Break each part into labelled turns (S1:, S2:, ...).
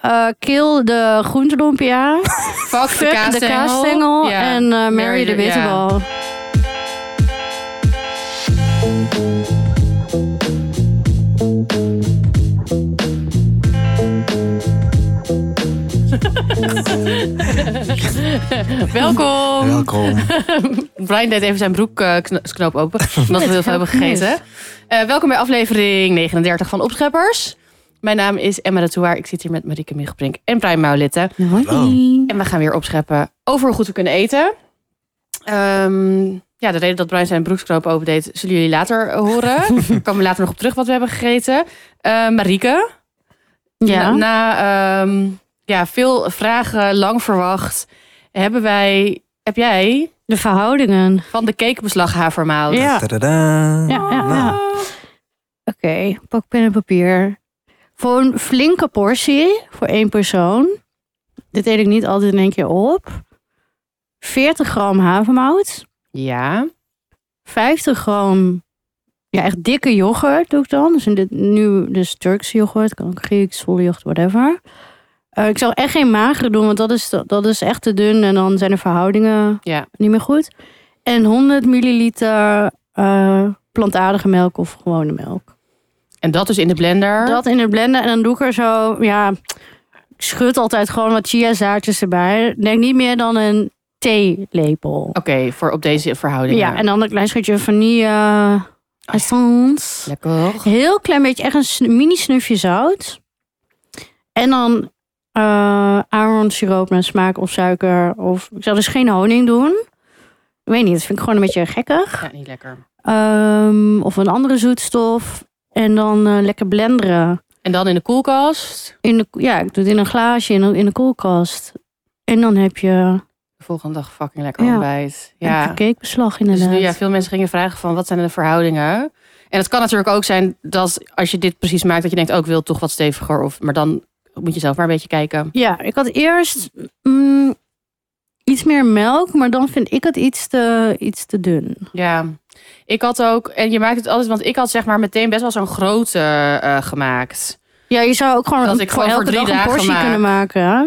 S1: eh, kill de groentelompia.
S2: Fuck,
S1: Fuck de kaasstengel.
S2: Ja.
S1: En eh, Mary, de
S2: ja.
S1: wittebal.
S2: Welkom.
S3: Welkom.
S2: Brian deed even zijn broekknoop open, omdat we heel veel hebben gegeten. Eh, welkom bij aflevering 39 van Opscheppers. Mijn naam is Emma de Touwaar. Ik zit hier met Marieke Miegebrink en Brian Maulette. En we gaan weer opscheppen over hoe goed we kunnen eten. Ehm, ja, de reden dat Brian zijn broeksknoop open deed, zullen jullie later eh, horen. Daar komen we later nog op terug wat we hebben gegeten. Eh Marieke,
S1: Ja.
S2: na, na, ehm, ja, veel vragen, lang verwacht, hebben wij, heb jij
S1: De verhoudingen.
S2: van de cakebeslag havermout.
S1: Ja. Ja,
S3: Tadada.
S1: ja,
S3: Nou,
S1: ja. Oké, pak pen en papier. Voor een flinke portie, voor één persoon. Dit eet ik niet altijd in één keer op. 40 gram havermout.
S2: Ja.
S1: 50 gram ja, echt dikke yoghurt doe ik dan. Dus in dit, nu dus Turkse yoghurt, kan ook Grieks, voljocht, whatever. Eh, ik zou echt geen magere doen, want dat is, te- dat is echt te dun. En dan zijn de verhoudingen
S2: Ja.
S1: niet meer goed. En 100 milliliter eh, plantaardige melk of gewone melk.
S2: En dat dus in de blender.
S1: Dat in het blender. En dan doe ik er zo, ja, ik schud altijd gewoon wat chiazaadjes erbij. Denk niet meer dan een theelepel.
S2: Oké, voor op deze verhouding.
S1: Ja, en dan een klein scheutje vanille. Essence.
S2: Oh, lekker.
S1: Heel klein beetje, echt een snu- mini snufje zout. En dan eh Aaron siroop naar smaak of suiker. Of, ik zou dus geen honing doen. Ik weet niet, dat vind ik gewoon een beetje gekkig.
S2: Ja, niet lekker.
S1: Ehm, of een andere zoetstof. En dan eh, lekker blenderen.
S2: En dan in de koelkast.
S1: In de, ja, ik doe het in een glaasje in, de- in de koelkast. En dan heb je
S2: De volgende dag fucking lekker
S1: Ja.
S2: ontbijt.
S1: ja.
S2: Ja.
S1: een cakebeslag
S2: Dus
S1: inderdaad.
S2: nu, ja, veel mensen gingen vragen van wat zijn de verhoudingen. En het kan natuurlijk ook zijn dat als je dit precies maakt, dat je denkt, ook ik wil toch wat steviger. Of, maar dan moet je zelf maar een beetje kijken.
S1: Ja, ik had eerst mm, iets meer melk, maar dan vind ik het iets te, iets te dun.
S2: Ja, ik had ook, en je maakt het altijd, want ik had zeg maar meteen best wel zo'n grote eh, gemaakt.
S1: Ja, je zou ook gewoon
S2: Dat
S1: een-
S2: ik
S1: voor
S2: gewoon
S1: elke
S2: voor drie
S1: dag een
S2: dagen
S1: portie
S2: maak.
S1: kunnen maken. hè?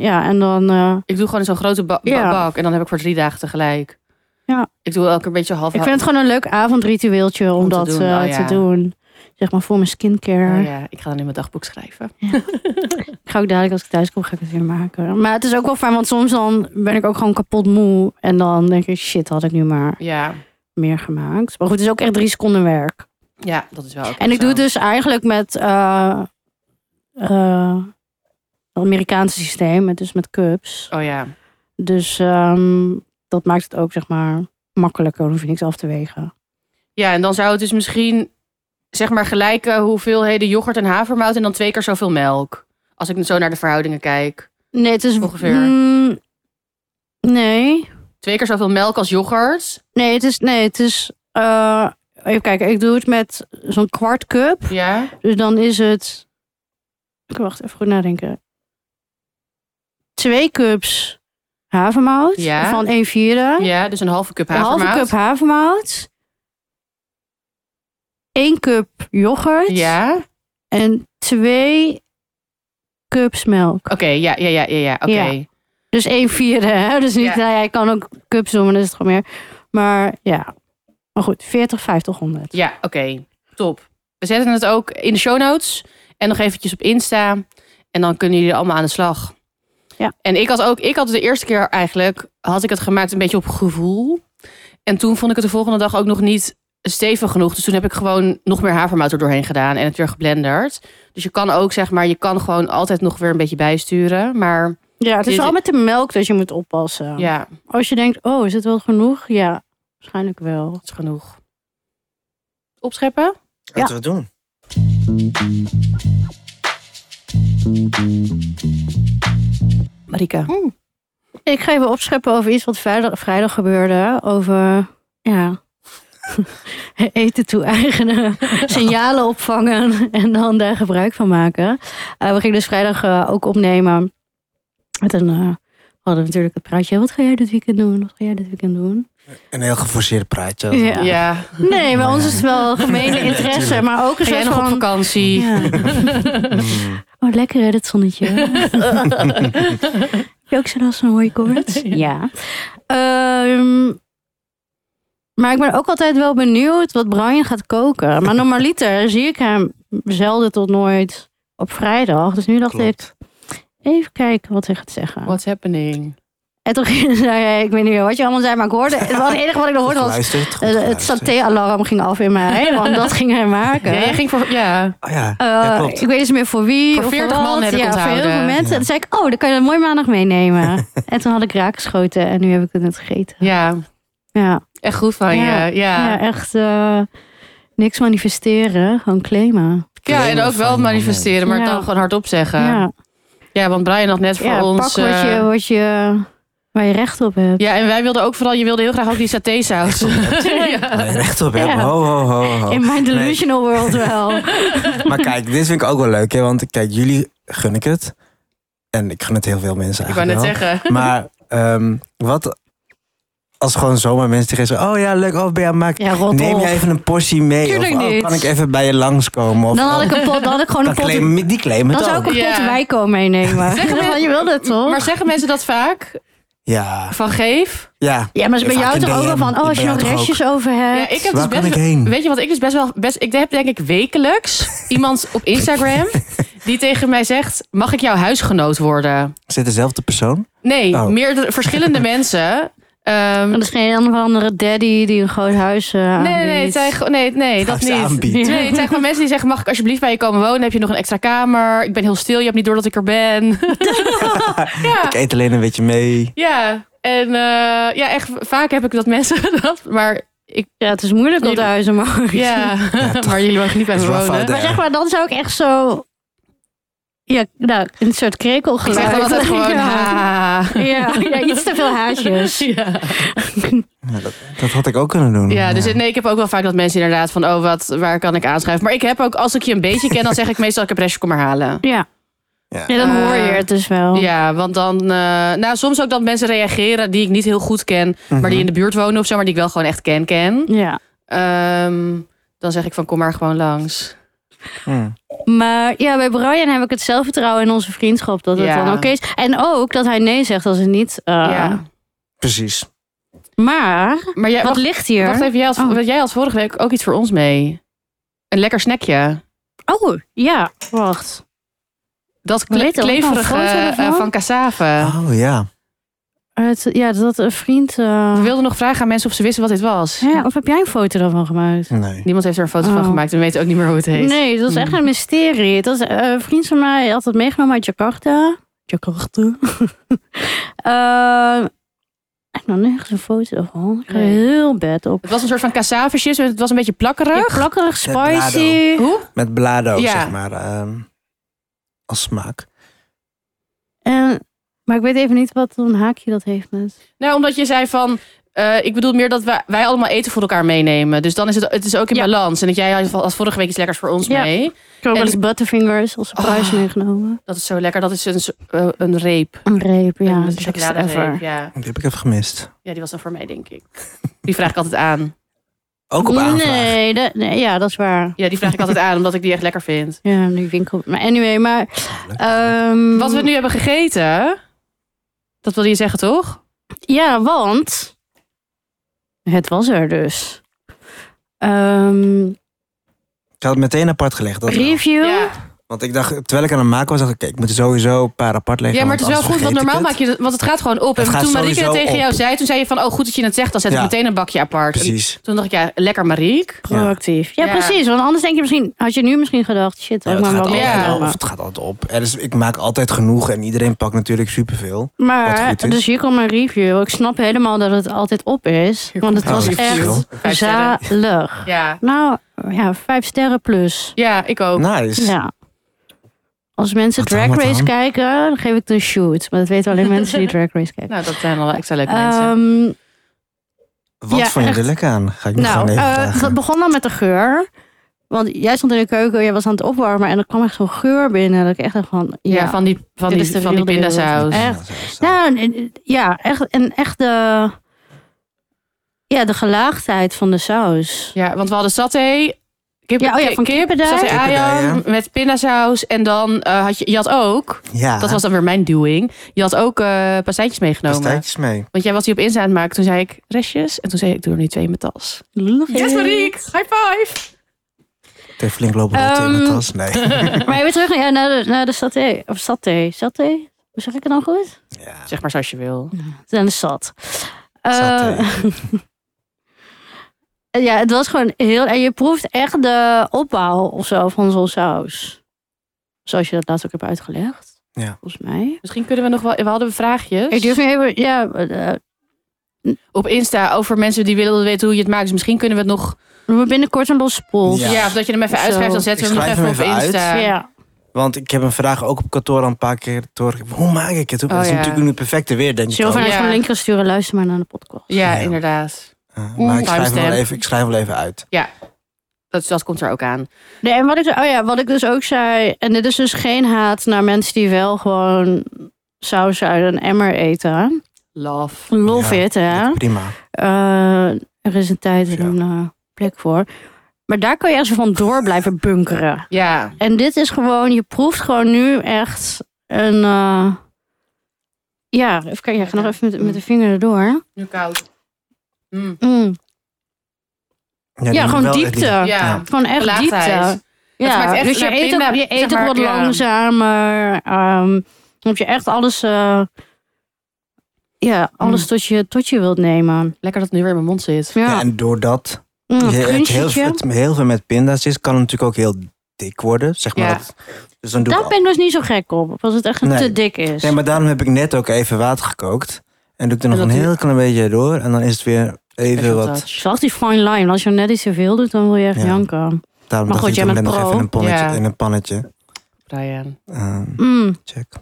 S1: Ja, en dan... eh,
S2: Ik doe gewoon zo'n grote ba- ba-
S1: Ja.
S2: bak en dan heb ik voor drie dagen tegelijk.
S1: Ja.
S2: Ik doe elke een beetje half
S1: ik vind het gewoon een leuk avondritueeltje om,
S2: Om te
S1: dat
S2: doen,
S1: eh,
S2: oh ja.
S1: te doen. Zeg maar voor mijn skincare.
S2: Oh ja, ik ga dan in mijn dagboek schrijven.
S1: Ik ga ook dadelijk als ik thuis kom, ga ik het weer maken. Maar het is ook wel fijn, want soms dan ben ik ook gewoon kapot moe. En dan denk ik, shit, had ik nu maar
S2: Ja,
S1: meer gemaakt. Maar goed, het is ook echt drie seconden werk.
S2: ja dat is wel ook
S1: En ik
S2: zo.
S1: doe het dus eigenlijk met eh, eh, het Amerikaanse systeem, met- dus met cups.
S2: Oh ja,
S1: Dus ehm, dat maakt het ook zeg maar makkelijker. Dan hoef je niks af te wegen.
S2: Ja, en dan zou het dus misschien zeg maar gelijke hoeveelheden yoghurt en havermout en dan twee keer zoveel melk. Als ik zo naar de verhoudingen kijk.
S1: Nee, het is
S2: Ongeveer.
S1: Mm, nee.
S2: Twee keer zoveel melk als yoghurt.
S1: Nee, het is. Nee, het is eh, even kijken, ik doe het met zo'n kwart cup.
S2: Ja.
S1: Dus dan is het. Ik wacht even goed nadenken. Twee cups havermout
S2: Ja.
S1: van 1 vierde.
S2: Ja, dus een halve cup
S1: Een
S2: havermout.
S1: halve cup havermout. 1 cup yoghurt.
S2: Ja. Oké,
S1: En 2 cups melk.
S2: ja, ja, ja, ja, ja. Oké.
S1: Ja. Dus 1 vierde. Hè? Dus niet,
S2: Ja.
S1: nou ja, je kan ook cups doen, maar dan is het gewoon meer. Maar ja. Maar goed, 40, 50, 100.
S2: Ja, oké. Top. We zetten het ook in de show notes. En nog eventjes op Insta. En dan kunnen jullie allemaal aan de slag.
S1: Ja.
S2: En ik had ook, ik had de eerste keer eigenlijk, had ik het gemaakt een beetje op gevoel. En toen vond ik het de volgende dag ook nog niet stevig genoeg. Dus toen heb ik gewoon nog meer havermout er doorheen gedaan en het weer geblenderd. Dus je kan ook, zeg maar, je kan gewoon altijd nog weer een beetje bijsturen. Maar
S1: Ja, het is
S2: Dit-
S1: al met de melk dat je moet oppassen.
S2: dus ja, het
S1: Als je denkt, oh, is het wel genoeg? Ja, waarschijnlijk wel.
S2: is genoeg. Opscheppen?
S1: Ja.
S3: Laten we het doen.
S2: Marika.
S1: Hm. Ik ga even opscheppen over iets wat vrijdag, vrijdag gebeurde. Over, ja, eten toe-eigenen, signalen opvangen en dan daar gebruik van maken. Eh, we gingen dus vrijdag eh, ook opnemen met een eh, hadden we natuurlijk het praatje. Wat ga jij dit weekend doen? Wat ga jij dit weekend doen?
S3: Een heel geforceerd praatje.
S1: Ja.
S2: Ja.
S1: Nee, bij ons is het wel gemene
S3: Ja,
S1: interesse,
S3: tuurlijk.
S1: maar ook een
S2: Ga jij
S1: soort
S2: nog op
S1: van...
S2: vakantie?
S1: Ja.
S3: Mm.
S1: Oh, lekker hè, dat zonnetje. Heb je ook zo'n als een hooie koorts? Ja. Ehm, maar ik ben ook altijd wel benieuwd wat Brian gaat koken. Maar normaliter zie ik hem zelden tot nooit op vrijdag. Dus nu dacht
S3: Klopt.
S1: ik, even kijken wat hij gaat zeggen.
S2: What's happening?
S1: En toen ging- zei hij, ik weet niet meer wat je allemaal zei, maar ik hoorde... Het was- het enige wat ik nog
S3: Goed
S1: hoorde was...
S3: geluisterd, goed
S1: eh, het
S3: geluisterd.
S1: saté-alarm ging af in mij, want dat ging hij maken.
S2: Ja, jij ging voor... Ja.
S3: Oh ja,
S1: Eh,
S3: ja, klopt.
S1: ik weet niet meer voor wie.
S2: Voor
S1: of
S2: 40
S1: wat.
S2: man heb ik
S1: ja, voor heel
S2: onthouden.
S1: veel mensen.
S3: Ja.
S1: Toen zei ik, oh, dan kan je dat mooi maandag meenemen. en toen had ik raak geschoten en nu heb ik het net gegeten.
S2: ja,
S1: Ja,
S2: echt goed van
S1: Ja.
S2: je. Ja.
S1: ja. echt eh, niks manifesteren, gewoon claimen.
S2: Ja, en
S3: Claimen
S2: ook
S3: van
S2: wel
S3: je
S2: manifesteren, maar
S1: moment.
S2: het dan
S1: Ja.
S2: gewoon hardop zeggen. Ja.
S1: ja,
S2: want Brian had net voor
S1: ja
S2: ons...
S1: pak wat je,
S2: eh,
S1: wat je, waar je recht op hebt.
S2: ja, en wij wilden ook vooral, je wilde heel graag ook die satésaus. ja.
S3: Nee, rechtop
S1: Ja.
S3: hebben. Ho, ho, ho, ho.
S1: In mijn delusional world wel.
S3: Maar kijk, dit vind ik ook wel leuk. Hè? Want kijk, jullie gun ik het. En ik gun het heel veel mensen
S2: Ik wou
S3: eigenlijk
S2: net
S3: wel.
S2: zeggen.
S3: Maar ehm, wat als gewoon zomaar mensen tegen je zeggen... Oh ja, leuk. Oh, ben je aan het maken?
S1: Ja, rot
S3: Neem
S1: op.
S3: jij even een portie mee?
S1: Tuurlijk
S3: of oh,
S1: niet.
S3: kan ik even bij je langskomen? Of,
S1: Dan had
S3: oh,
S1: ik, een pot, dan had ik gewoon een
S3: dan
S1: pot...
S3: claim, die claimen
S1: Dan
S3: het
S1: zou ik
S3: ook.
S1: een pot
S2: Ja.
S1: wijkool meenemen.
S2: Zeg maar-
S1: je wilde het toch?
S2: Maar zeggen mensen dat vaak?
S3: Ja,
S2: Van geef?
S3: ja.
S1: ja, maar ze bij
S3: Vaak
S1: jou
S3: een
S1: toch ook
S3: DM.
S1: wel van...
S3: Bij
S1: Oh, als je
S3: jou
S1: nog
S3: toch ook?
S1: restjes over
S2: Ja,
S1: hebt.
S2: ik heb
S3: Waar
S2: dus
S3: kan ik
S2: best...
S3: heen?
S2: Weet je wat, ik dus best wel... Best, ik heb denk ik wekelijks iemand op Instagram die tegen mij zegt... Mag ik jouw huisgenoot worden?
S3: Is dit dezelfde persoon?
S2: Nee,
S3: Oh.
S2: meerdere, verschillende mensen. Ehm,
S1: Dat is geen een of andere daddy die een groot huis eh
S2: nee, nee, nee, het
S1: aanbiedt.
S2: zijn, gewoon- nee, nee dat
S3: Als Ah, ze
S2: niet.
S3: aanbiedt.
S1: Ja.
S2: Nee, het zijn gewoon mensen die zeggen: Mag ik alsjeblieft bij je komen wonen? Heb je nog een extra kamer? Ik ben heel stil, je hebt niet door dat ik er ben. ja,
S3: Ik eet alleen een beetje mee.
S2: ja. En eh, ja, echt vaak heb ik dat mensen dat. Maar
S1: Ja, het is moeilijk op de huizen, maar...
S2: ja,
S3: toch.
S2: maar jullie mogen niet bij
S3: Het
S2: me
S3: is wel fout,
S2: wonen.
S3: hè?
S1: Maar zeg maar, dan zou ik echt zo... Ja, nou, een soort
S2: Ik
S1: krekelgeluid.
S2: zeg dan altijd gewoon:
S1: ja.
S2: ha.
S1: Ja, ja, iets te veel haasjes.
S2: Ja.
S3: Ja, dat, dat had ik ook kunnen doen.
S2: ja, dus nee, ik heb ook wel vaak dat mensen inderdaad van: Oh, wat, waar kan ik aanschrijven? Maar ik heb ook, als ik je een beetje ken, dan zeg ik meestal: Ik heb restje, kom maar halen.
S1: Ja.
S3: Ja.
S1: ja, dan hoor je het dus wel.
S2: Eh, Ja, want dan... eh, nou, soms ook dat mensen reageren die ik niet heel goed ken... maar
S3: Mhm.
S2: die in de buurt wonen of zo... maar die ik wel gewoon echt ken, ken.
S1: Ja.
S2: Ehm, dan zeg ik van, kom maar gewoon langs.
S3: Hm.
S1: Maar ja, bij Brian heb ik het zelfvertrouwen in onze vriendschap dat het
S2: Ja.
S1: dan oké is. En ook dat hij nee zegt als het niet... eh,
S2: Ja.
S3: Precies.
S1: Maar,
S2: Maar jij,
S1: wat
S2: wacht,
S1: ligt hier?
S2: wacht even, jij had,
S1: Oh.
S2: jij had vorige week ook iets voor ons mee. Een lekker snackje.
S1: Oh, ja, wacht.
S2: Dat
S1: Weet
S2: kle
S1: het, een
S2: kleverige
S1: foto
S2: eh,
S1: ervan?
S2: van cassave.
S3: Oh ja.
S1: Het, ja, dat een vriend... eh,
S2: We wilden nog vragen aan mensen of ze wisten wat dit was.
S1: Ja, of heb jij een foto daarvan gemaakt?
S3: Nee.
S2: Niemand heeft er een foto van
S1: Oh.
S2: gemaakt. en We weten ook niet meer hoe het heet.
S1: Nee, dat is echt
S2: Hmm.
S1: een mysterie. Dat is, eh, een vriend van mij had het meegenomen uit Jakarta. Jakarta. Ehm ik heb nog nergens een foto van. Ik ga
S2: Nee.
S1: heel bed op.
S2: Het was een soort van cassave chips. Het was een beetje
S1: Ja,
S2: plakkerig.
S1: plakkerig,
S3: Met blado.
S1: spicy.
S2: Hoe?
S3: Met blado,
S2: Ja.
S3: zeg maar. ehm, als smaak.
S1: En, maar ik weet even niet wat een haakje dat heeft met.
S2: Nou, omdat je zei van. eh, ik bedoel meer dat wij, wij allemaal eten voor elkaar meenemen. Dus dan is het, het is ook in
S1: Ja.
S2: balans. En dat jij had had vorige week iets lekkers voor ons
S1: Ja.
S2: mee.
S1: Ik heb ook wel
S2: En-
S1: eens butterfingers als surprise meegenomen.
S2: Dat is zo lekker. Dat is een, s- eh, een reep.
S1: Een reep, ja.
S2: een
S1: de lekkerste ever.
S2: chocoladereep. Ja.
S3: Die heb ik even gemist.
S2: ja, die was dan voor mij, denk ik. Die vraag ik altijd aan.
S3: Ook op aanvraag.
S1: nee, dat- nee, ja, dat is waar.
S2: Ja, die vraag ik altijd aan, omdat ik die echt lekker vind.
S1: Ja, die winkel. Maar anyway, maar. ehm,
S2: Wat we nu hebben gegeten. Dat wilde je zeggen, toch?
S1: Ja, want het was er dus. Ehm,
S3: Ik had het meteen apart gelegd. Dat wel.
S1: review.
S2: Ja.
S3: Want ik dacht, terwijl ik aan het maken was, dacht ik, kijk, ik moet er sowieso een paar apart leggen.
S2: ja, maar het is wel goed, want normaal maak je... dat- Want het gaat gewoon op.
S3: Het
S2: en
S3: gaat
S2: toen Marieke het
S3: sowieso
S2: tegen
S3: op.
S2: jou zei, toen zei je van... Oh, goed dat je het zegt, dan zet ik
S3: Ja.
S2: meteen een bakje apart. En
S3: Precies.
S2: Toen dacht ik, ja, lekker Marieke.
S1: Proactief. Ja,
S2: Ja.
S1: precies. Want anders denk je misschien, had je nu misschien gedacht, shit,
S3: Ja,
S1: ook
S3: het,
S1: maar
S3: gaat
S1: wat
S3: altijd,
S1: meer.
S2: ja.
S3: wel-
S1: nemen.
S3: of het gaat altijd op. Er is, ik maak altijd genoeg en iedereen pakt natuurlijk superveel. wat
S1: Maar,
S3: goed is.
S1: dus hier komt mijn review. Ik snap helemaal dat het altijd op is.
S2: Hier
S1: Want
S2: komt
S1: het was
S3: mijn review.
S1: echt
S2: Vijf sterren.
S1: zalig.
S2: Ja.
S1: Nou, ja, vijf sterren plus.
S2: Ja, ik ook.
S3: Nice.
S1: Ja. Als mensen
S3: Wat dan,
S1: Drag
S3: wat
S1: Race
S3: dan?
S1: kijken, dan geef ik het een shoot. Maar dat weten alleen mensen die Drag Race kijken.
S2: Nou, dat zijn al extra leuke mensen.
S1: Ehm,
S3: Wat
S1: Ja,
S3: vond je er
S1: echt.
S3: lekker aan? Ga ik nog
S1: Nou,
S3: gewoon even
S1: eh,
S3: vragen.
S1: dat begon dan met de geur. Want jij stond in de keuken, jij was aan het opwarmen en er kwam echt zo'n geur binnen. Dat ik echt dacht van, ja,
S2: Ja, van die, van
S1: dit
S2: die,
S1: is de
S2: van die
S1: wilde wereld.
S2: pindasaus.
S1: echt.
S3: Ja, zelfs. staan.
S1: Nou, en- en- ja, echt, en echt de, ja, de gelaagdheid van de saus.
S2: Ja, want we hadden saté, kip,
S1: Ja, oh ja, van
S2: kip,
S1: kippendij.
S2: saté
S3: Kippendij,
S2: ayo
S3: ja.
S2: met pindasaus. En dan eh, had je, je had ook,
S3: ja,
S2: dat was dan weer mijn doing, je had ook eh pastijtjes meegenomen.
S3: pastijtjes mee.
S2: Want jij was die op Insta aan het maken, toen zei ik restjes. En toen zei ik, ik doe er nu twee in mijn tas. Yes, Mariek, high five!
S3: Het heeft flink lopen rotten in de
S1: Ehm,
S3: tas. Nee.
S1: Maar even terug ja, naar, de, naar de saté. Of saté. Saté? Hoe zeg ik het nou goed?
S3: ja,
S2: Zeg maar zoals je wil.
S1: Dan is zat. Eh,
S3: saté.
S1: ja, het was gewoon heel... En je proeft echt de opbouw of zo van zo'n saus. Zoals je dat laatst ook hebt uitgelegd.
S3: Ja.
S1: Volgens mij.
S2: Misschien kunnen we nog wel, we hadden vraagjes
S1: Ik durf nu even... Ja, eh,
S2: op Insta over mensen die wilden weten hoe je het maakt. Dus misschien kunnen we het nog,
S1: we hebben binnenkort een los pols.
S2: ja,
S3: Ja.
S2: of dat je hem even
S1: Zo.
S2: uitschrijft, dan zetten
S3: Ik
S2: we hem nog even,
S3: schrijf hem
S2: op
S3: even
S2: Insta.
S1: Ja.
S3: Want ik heb een vraag ook op kantoor al een paar keer door. Hoe maak ik het? Het
S2: Oh,
S3: is
S2: ja.
S3: natuurlijk nu het perfecte weer, denk ik.
S1: Zullen we
S3: ook.
S1: Dus vanuit
S2: Ja.
S1: van linker sturen? Luister maar naar de podcast.
S2: Ja,
S3: Ja.
S2: inderdaad.
S3: Eh, maar ik schrijf, hem wel
S2: timestamp.
S3: even, ik schrijf hem wel even uit.
S2: Dat, dat komt er ook aan.
S1: Nee, en wat ik, oh ja, wat ik dus ook zei, en dit is dus geen haat naar mensen die wel gewoon saus uit een emmer eten.
S2: Love.
S1: Love
S3: Ja,
S1: it, hè?
S3: Dat- Prima.
S1: Eh, er is een tijd en
S3: Ja.
S1: een eh, plek voor. Maar daar kan je echt zo van door blijven bunkeren.
S2: Ja,
S1: En dit is gewoon, je proeft gewoon nu echt een... eh, ja, even kijken, ja, ik ga nog even met, met de vinger erdoor.
S2: nu koud. Mm.
S1: Mm.
S3: die
S1: Ja,
S3: moet
S1: gewoon
S3: wel echt
S1: diepte.
S3: niet-
S2: Ah, Ja,
S3: Ja.
S1: Gewoon echt
S2: laagheid.
S1: diepte. Ja,
S2: smaakt echt
S1: dus je
S2: naar
S1: eet,
S2: pinda,
S1: ook, je
S2: zeg
S1: eet ook
S2: maar,
S1: wat
S2: ja.
S1: langzamer. ehm, dan heb je echt alles, eh, ja, alles
S2: Mm.
S1: tot, je, tot je wilt nemen.
S2: Lekker dat het nu weer in mijn mond zit.
S1: Ja,
S3: Ja, en doordat
S1: Mm, een
S3: je het heel,
S1: crunchietje.
S3: het heel veel met pinda's is, kan het natuurlijk ook heel dik worden. Zeg maar.
S2: Ja.
S3: Dat- dus dan doe ik
S1: Daar
S3: al-
S1: ben ik dus niet zo gek op, als het echt
S3: Nee.
S1: te dik is.
S3: Nee, maar daarom heb ik net ook even water gekookt. En doe ik er nog
S2: En
S3: een
S2: dat-
S3: heel klein beetje door. En dan is het weer even
S2: Special
S3: wat.
S2: touch.
S1: Zoals die fine line, Dus als je net iets te veel doet, dan wil je echt
S3: Ja.
S1: janken.
S3: Daarom
S1: Maar
S3: dacht
S1: goed,
S3: ik
S1: jij
S3: dan
S1: bent
S3: nog
S1: pro.
S3: even in een pannetje.
S2: Ja.
S3: In een pannetje.
S2: Brian.
S3: Ehm,
S1: Mm.
S3: check.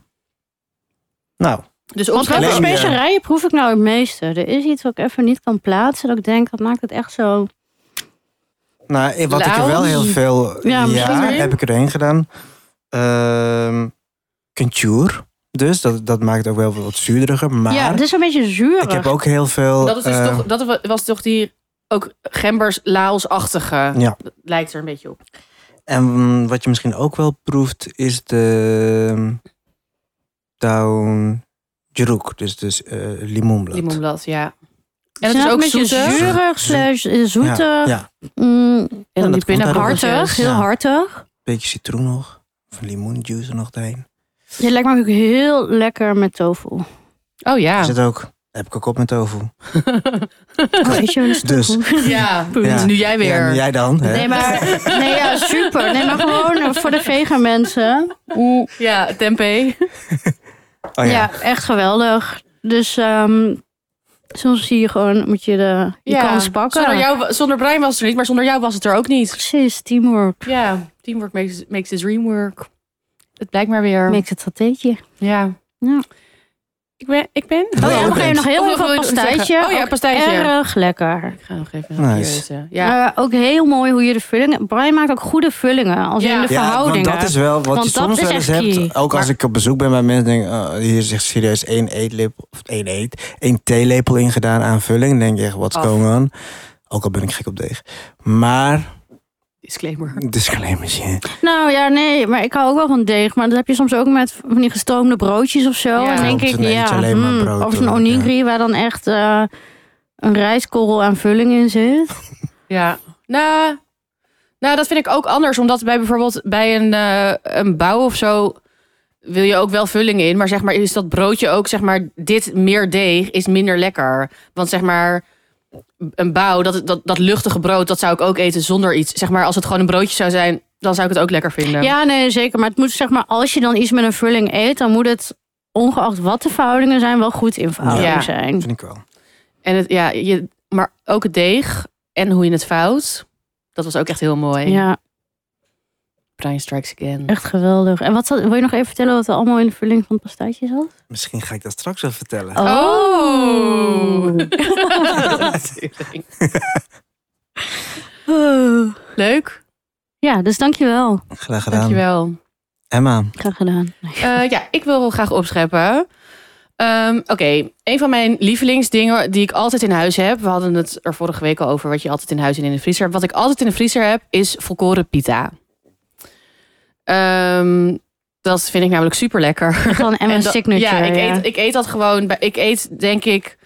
S3: Nou,
S2: Dus
S1: Want welke
S3: Alleen, eh,
S1: specerijen proef ik nou het meeste? Er is iets wat ik even niet kan plaatsen, dat ik denk, dat maakt het echt zo...
S3: nou wat ik er wel
S2: Lauw.
S3: heel veel...
S1: Ja,
S3: Ja,
S1: misschien
S2: erin.
S3: heb ik erheen gedaan. Ehm Kentuur. Dus dat, dat maakt ook wel wat zuurderiger. Maar
S1: ja, het is een beetje zuurig.
S3: ik heb ook heel veel...
S2: Dat, is dus
S3: eh,
S2: toch, dat wa- was toch die ook Gembers Laos-achtige.
S3: Ja.
S2: Dat Lijkt er een beetje op.
S3: En wat je misschien ook wel proeft is de down jeruk, dus, dus eh, limoenblad.
S2: Limoenblad, ja. En
S1: Het
S2: het is
S1: een
S2: ook
S1: beetje
S2: zoete.
S1: zuurig, slash eh,
S3: Ja,
S1: zoete.
S3: ja,
S1: Mm,
S2: En dan
S3: dat
S2: die
S3: komt
S2: pinda
S3: uit de
S1: hartig, heel
S3: Ja.
S1: hartig.
S3: beetje citroen nog, of limoenjuice er nog doorheen.
S1: Dit lijkt me ook heel lekker met tofu.
S2: Oh
S3: Er
S2: ja.
S3: Zit ook, heb ik ook op met tofu.
S1: Oh, eet je wel eens
S3: Dus.
S1: tofu?
S2: Ja.
S1: Punt.
S3: Ja.
S2: Nu jij weer.
S3: Ja, en jij dan? Hè?
S1: Nee, maar, nee, ja, super. Nee, maar gewoon eh, voor de vegan mensen. Oeh.
S2: Ja, tempeh.
S3: oh, ja.
S1: ja. echt geweldig. Dus ehm, soms zie je gewoon, moet je de je
S2: Ja.
S1: kans pakken.
S2: Zonder, jou, wa- zonder Brian was het er niet, maar zonder jou was het er ook niet.
S1: Precies, teamwork.
S2: Ja, teamwork makes, makes the dream work. Het blijkt maar weer.
S1: Maakt het satéetje.
S3: Oh,
S2: Ja.
S1: Ja.
S2: Ik ben... Ik ben...
S1: Oh ja,
S3: oké.
S1: nog even nog heel
S2: Oh,
S1: even
S2: wil
S1: een
S2: je nog iets
S1: pastijtje.
S2: zeggen? Oh ja,
S1: Ook
S2: pastijtje.
S1: Erg lekker.
S2: Ik ga nog even naar
S3: Nice.
S2: nice. Ja.
S1: Eh, ook heel mooi hoe je de vullingen... Brian maakt ook goede vullingen. Als
S2: Ja.
S1: in de
S3: Ja, want
S1: verhoudingen.
S3: dat is wel wat
S1: Want
S3: je
S1: dat
S3: soms
S1: is
S3: wel eens
S1: echt
S3: hebt.
S1: key.
S3: Ook als
S2: Maar-
S3: ik op bezoek ben bij mensen, denk ik, oh, hier is echt serieus één eetlip, of één eet, één theelepel ingedaan aan vulling. Dan denk je echt, what's
S2: Af.
S3: going on? Ook al ben ik gek op deeg. Maar,
S2: Disclaimer.
S3: disclaimertje.
S1: Nou ja, nee, maar ik hou ook wel van deeg. Maar dat heb je soms ook met van die gestoomde broodjes of zo.
S2: Ja.
S1: en denk
S3: Klopt,
S1: ik,
S3: dan eet je
S1: ja,
S3: alleen maar
S1: hmm,
S3: brood
S1: of een
S3: dan,
S1: onigiri waar dan echt eh, een rijstkorrel aan vulling in zit.
S2: Ja. Nou, nou, dat vind ik ook anders. Omdat bij bijvoorbeeld bij een, eh, een bouw of zo wil je ook wel vulling in. Maar zeg maar, is dat broodje ook, zeg maar, dit meer deeg is minder lekker. Want zeg maar, een bouw, dat, dat, dat luchtige brood, dat zou ik ook eten zonder iets. Zeg maar, als het gewoon een broodje zou zijn, dan zou ik het ook lekker vinden.
S1: Ja, nee, zeker. Maar het moet zeg maar, als je dan iets met een vulling eet, dan moet het, ongeacht wat de verhoudingen zijn, wel goed in verhouding
S2: Ja.
S1: zijn.
S3: Vind ik wel.
S2: En het, ja, je, maar ook het deeg en hoe je het vouwt, dat was ook echt heel mooi.
S1: Ja,
S2: Brian Strikes Again.
S1: echt geweldig. En wat zat- wil je nog even vertellen wat er allemaal in de vulling van het pastaatje zat?
S3: Misschien ga ik dat straks wel vertellen.
S2: Oh.
S1: Oh.
S2: Leuk.
S1: Ja, dus dankjewel.
S3: Graag gedaan.
S2: Dankjewel.
S3: Emma,
S1: Graag gedaan.
S2: Eh ja, ik wil graag opscheppen. Ehm, Oké, een van mijn lievelingsdingen die ik altijd in huis heb. We hadden het er vorige week al over wat je altijd in huis en in de vriezer hebt. Wat ik altijd in de vriezer heb is volkoren pita. Ehm, dat vind ik namelijk super lekker.
S1: Gewoon Emma
S2: dat-
S1: Signature.
S2: Ja, ik eet, ik eet dat gewoon. bij- Ik eet denk ik,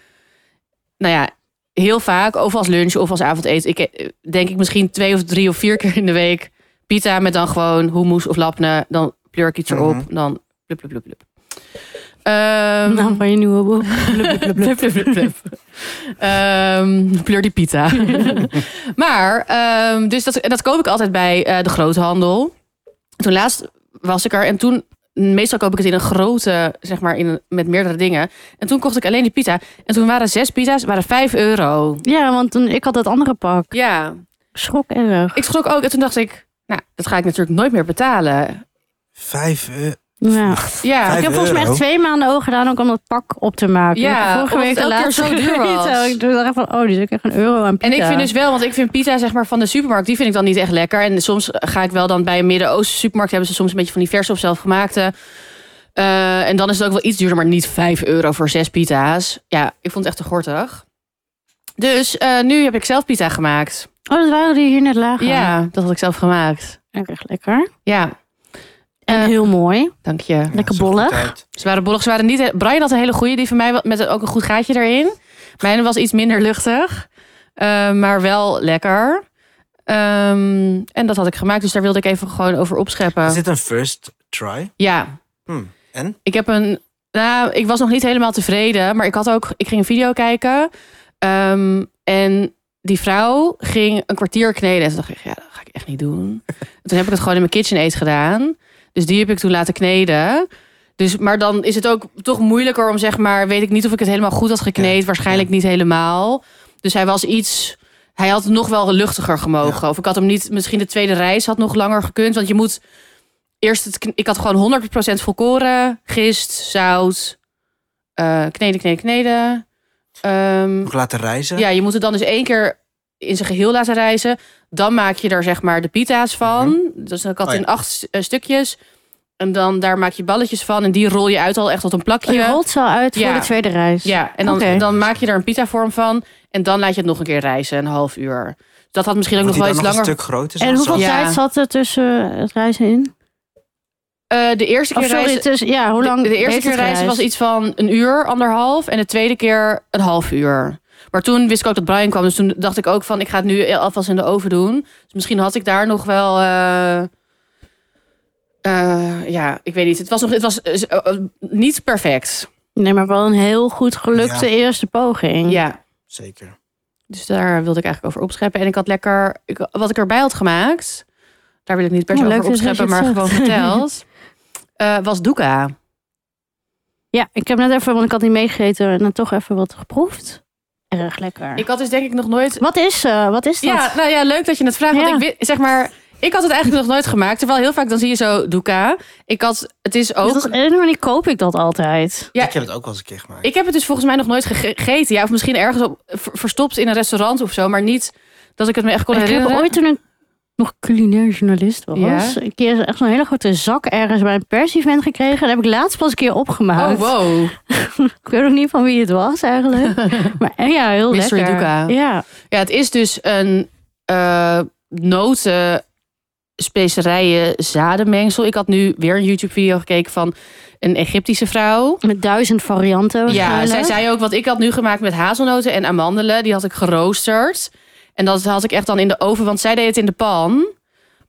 S2: nou ja, heel vaak, of als lunch of als avondeten. Ik e- denk ik misschien twee of drie of vier keer in de week pita met dan gewoon hummus of lapne. Dan pleur ik iets erop,
S3: Mhm.
S2: dan blub blub blub blub. Ehm,
S1: Nou, van je nieuwe boek.
S2: Blub, blub, blub, blub. Ehm, pleur die pita. maar, ehm, dus dat, en dat koop ik altijd bij eh, de groothandel. Toen laatst was ik er en toen... Meestal koop ik het in een grote, zeg maar, in een- met meerdere dingen. En toen kocht ik alleen die pita. En toen waren zes pita's, waren vijf euro.
S1: Ja, want toen, ik had dat andere pak.
S2: Ja.
S1: Ik Schrok erg.
S2: Ik schrok ook. En toen dacht ik, nou, dat ga ik natuurlijk nooit meer betalen.
S3: Vijf eh,
S1: Ja.
S2: Ja.
S1: Ik
S3: Vijf
S1: heb volgens mij echt
S3: euro?
S1: twee maanden ogen gedaan ook om dat pak op te maken.
S2: Ja,
S1: Ik heb vorige
S2: omdat
S1: week
S2: het
S1: de
S2: elke keer
S1: laatste
S2: zo duur
S1: gegeten.
S2: was.
S1: Ik dacht van, oh, die is ook echt een euro aan
S2: En
S1: pita.
S2: ik vind dus wel, want ik vind pita zeg maar van de supermarkt, die vind ik dan niet echt lekker. En soms ga ik wel dan bij een Midden-Oosten supermarkt, hebben ze soms een beetje van die verse of zelfgemaakte. Eh, en dan is het ook wel iets duurder, maar niet 5 euro voor zes pita's. Ja, ik vond het echt te gortig. Dus eh, nu heb ik zelf pita gemaakt.
S1: Oh, dat waren die hier net lager.
S2: Ja, dat had ik zelf gemaakt.
S1: Ook Echt lekker.
S2: Ja,
S1: En
S2: Eh,
S1: heel mooi.
S2: dank je.
S1: Lekker
S3: zag goed
S1: bollig.
S3: uit.
S2: Ze waren bollig, ze waren niet... Brian had een hele goede, die van mij wa- met een- ook een goed gaatje erin. Mijn was iets minder luchtig, eh, maar wel lekker. Ehm, en dat had ik gemaakt, dus daar wilde ik even gewoon over opscheppen.
S3: Is dit een first try?
S2: Ja,
S3: Hmm. En?
S2: ik heb een... Nou, ik was nog niet helemaal tevreden, maar ik had ook... Ik ging een video kijken ehm, en die vrouw ging een kwartier kneden. En toen dacht ik, ja, dat ga ik echt niet doen. En toen heb ik het gewoon in mijn KitchenAid gedaan. Dus die heb ik toen laten kneden. Dus, maar dan is het ook toch moeilijker om zeg maar, weet ik niet of ik het helemaal goed had gekneed,
S3: Ja,
S2: waarschijnlijk
S3: ja.
S2: niet helemaal. Dus hij was iets, hij had nog wel luchtiger gemogen. Of ik had hem niet, misschien de tweede reis had nog langer gekund, want je moet eerst het, kn- ik had gewoon 100% volkoren, gist, zout, eh, kneden, kneden, kneden. Ehm,
S3: Nog laten reizen?
S2: ja, je moet het dan dus één keer in zijn geheel laten rijzen. Dan maak je er zeg maar de pita's van. Dus ik had
S3: Oh ja.
S2: in acht st- eh, stukjes. En dan daar maak je balletjes van. En die rol je uit al echt tot een plakje.
S1: Je rolt ze al uit
S2: Ja.
S1: voor de tweede reis.
S2: Ja, en dan,
S1: Oké.
S2: dan maak je er een pita-vorm van. En dan laat je het nog een keer rijzen, een half uur. Dat had misschien ook
S3: Wordt
S2: nog
S3: die
S2: wel
S3: dan
S2: iets
S3: nog
S2: langer.
S3: een stuk groter?
S1: En
S3: zoals-
S1: hoeveel
S2: Ja.
S1: tijd zat er tussen het reizen in?
S2: Eh, de eerste
S1: Of
S2: keer
S1: Oh, sorry,
S2: reizen,
S1: tussen, ja, hoe lang
S2: de, de eerste
S1: heeft het
S2: keer reizen was
S1: gereisd?
S2: iets van een uur, anderhalf. En de tweede keer een half uur. Maar toen wist ik ook dat Brian kwam. Dus toen dacht ik ook van, ik ga het nu alvast in de oven doen. Dus misschien had ik daar nog wel... eh, eh, ja, ik weet niet. Het was, nog, het was eh, eh, eh, niet perfect.
S1: Nee, maar wel een heel goed gelukte
S3: Ja.
S1: eerste poging.
S2: Ja.
S3: Zeker.
S2: Dus daar wilde ik eigenlijk over opscheppen. En ik had lekker, ik, wat ik erbij had gemaakt, daar wil ik niet per se
S1: Oh,
S2: over
S1: leuk dat je
S2: opscheppen, maar
S1: het
S2: gewoon
S1: zegt.
S2: verteld, eh, was doeka.
S1: Ja, ik heb net even, want ik had niet meegegeten en dan toch even wat geproefd. Erg lekker.
S2: Ik had dus denk ik nog nooit...
S1: Wat is, eh, wat is dat?
S2: Ja, nou ja, leuk dat je het vraagt.
S1: Ja.
S2: Want ik weet- zeg maar, ik had het eigenlijk nog nooit gemaakt. Terwijl heel vaak dan zie je zo doeka. Ik had, het is ook...
S1: Dus op een of andere manier koop ik dat altijd.
S2: Ja.
S3: Ik heb het ook wel eens een keer gemaakt.
S2: Ik heb het dus volgens mij nog nooit gege- gegeten. Ja, of misschien ergens op, ver- verstopt in een restaurant of zo. Maar niet dat ik het me echt kon
S1: ik heb
S2: herinneren.
S1: ooit toen ik nog culinair journalist was,
S2: Ja.
S1: een keer echt zo'n hele grote zak ergens bij een pers-event gekregen. En heb ik laatst pas een keer
S2: Oh,
S1: opgemaakt.
S2: wow.
S1: Ik weet ook niet van wie het was eigenlijk. maar eh, ja, heel
S2: Mystery
S1: lekker.
S2: Doeka.
S1: Ja.
S2: Ja, het is dus een eh, noten, specerijen, zadenmengsel. Ik had nu weer een YouTube-video gekeken van een Egyptische vrouw.
S1: Met duizend varianten
S2: Ja,
S1: waarschijnlijk.
S2: zij zei ook, wat ik had nu gemaakt met hazelnoten en amandelen, die had ik geroosterd. En dat had ik echt dan in de oven, want zij deed het in de pan.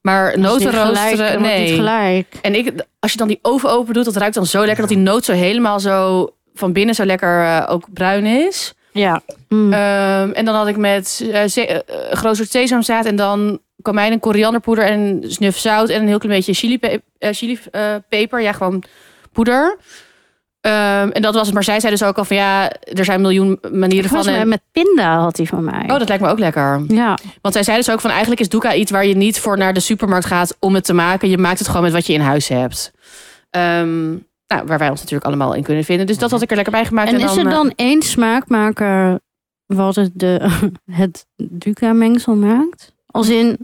S2: Maar
S1: Dat is
S2: noten
S1: niet gelijk,
S2: roosteren,
S1: dat wordt
S2: nee.
S1: niet gelijk.
S2: En ik, als je dan die oven open doet, dat ruikt dan zo lekker dat die noot zo helemaal zo van binnen zo lekker eh, ook bruin is.
S1: Ja. Mm.
S2: Ehm, en dan had ik met eh ze- eh, groot soort sesamzaad en dan komijn en korianderpoeder en snuf zout en een heel klein beetje chilipeper. chili, eh, peper. ja, gewoon poeder. Ehm, en dat was het. Maar zij zei dus ook al van ja, er zijn miljoen manieren van.
S1: Volgens mij
S2: En,
S1: met pinda had hij van mij.
S2: oh, dat lijkt me ook lekker.
S1: Ja.
S2: Want zij zei dus ook van eigenlijk is doeka iets waar je niet voor naar de supermarkt gaat om het te maken. Je maakt het gewoon met wat je in huis hebt. Ehm, nou, waar wij ons natuurlijk allemaal in kunnen vinden. Dus dat had ik er lekker bij gemaakt.
S1: Mhm. En is er
S2: eh,
S1: dan één smaakmaker wat het, de, het Duca-mengsel maakt? Als in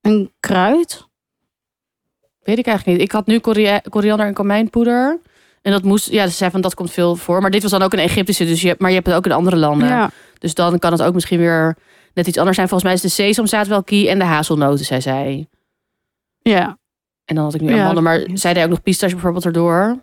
S1: een kruid?
S2: Weet ik eigenlijk niet. Ik had nu koria- koriander en komijnpoeder. En dat moest, ja, ze zei van dat komt veel voor. Maar dit was dan ook een Egyptische, dus je, hebt- maar je hebt het ook in andere landen.
S1: Ja.
S2: Dus dan kan het ook misschien weer net iets anders zijn. Volgens mij is de sesamzaad wel key en de hazelnoten, zei zij.
S1: ja.
S2: En dan had ik nu
S1: Ja.
S2: amandelen, maar zij deed ook nog pistache bijvoorbeeld erdoor.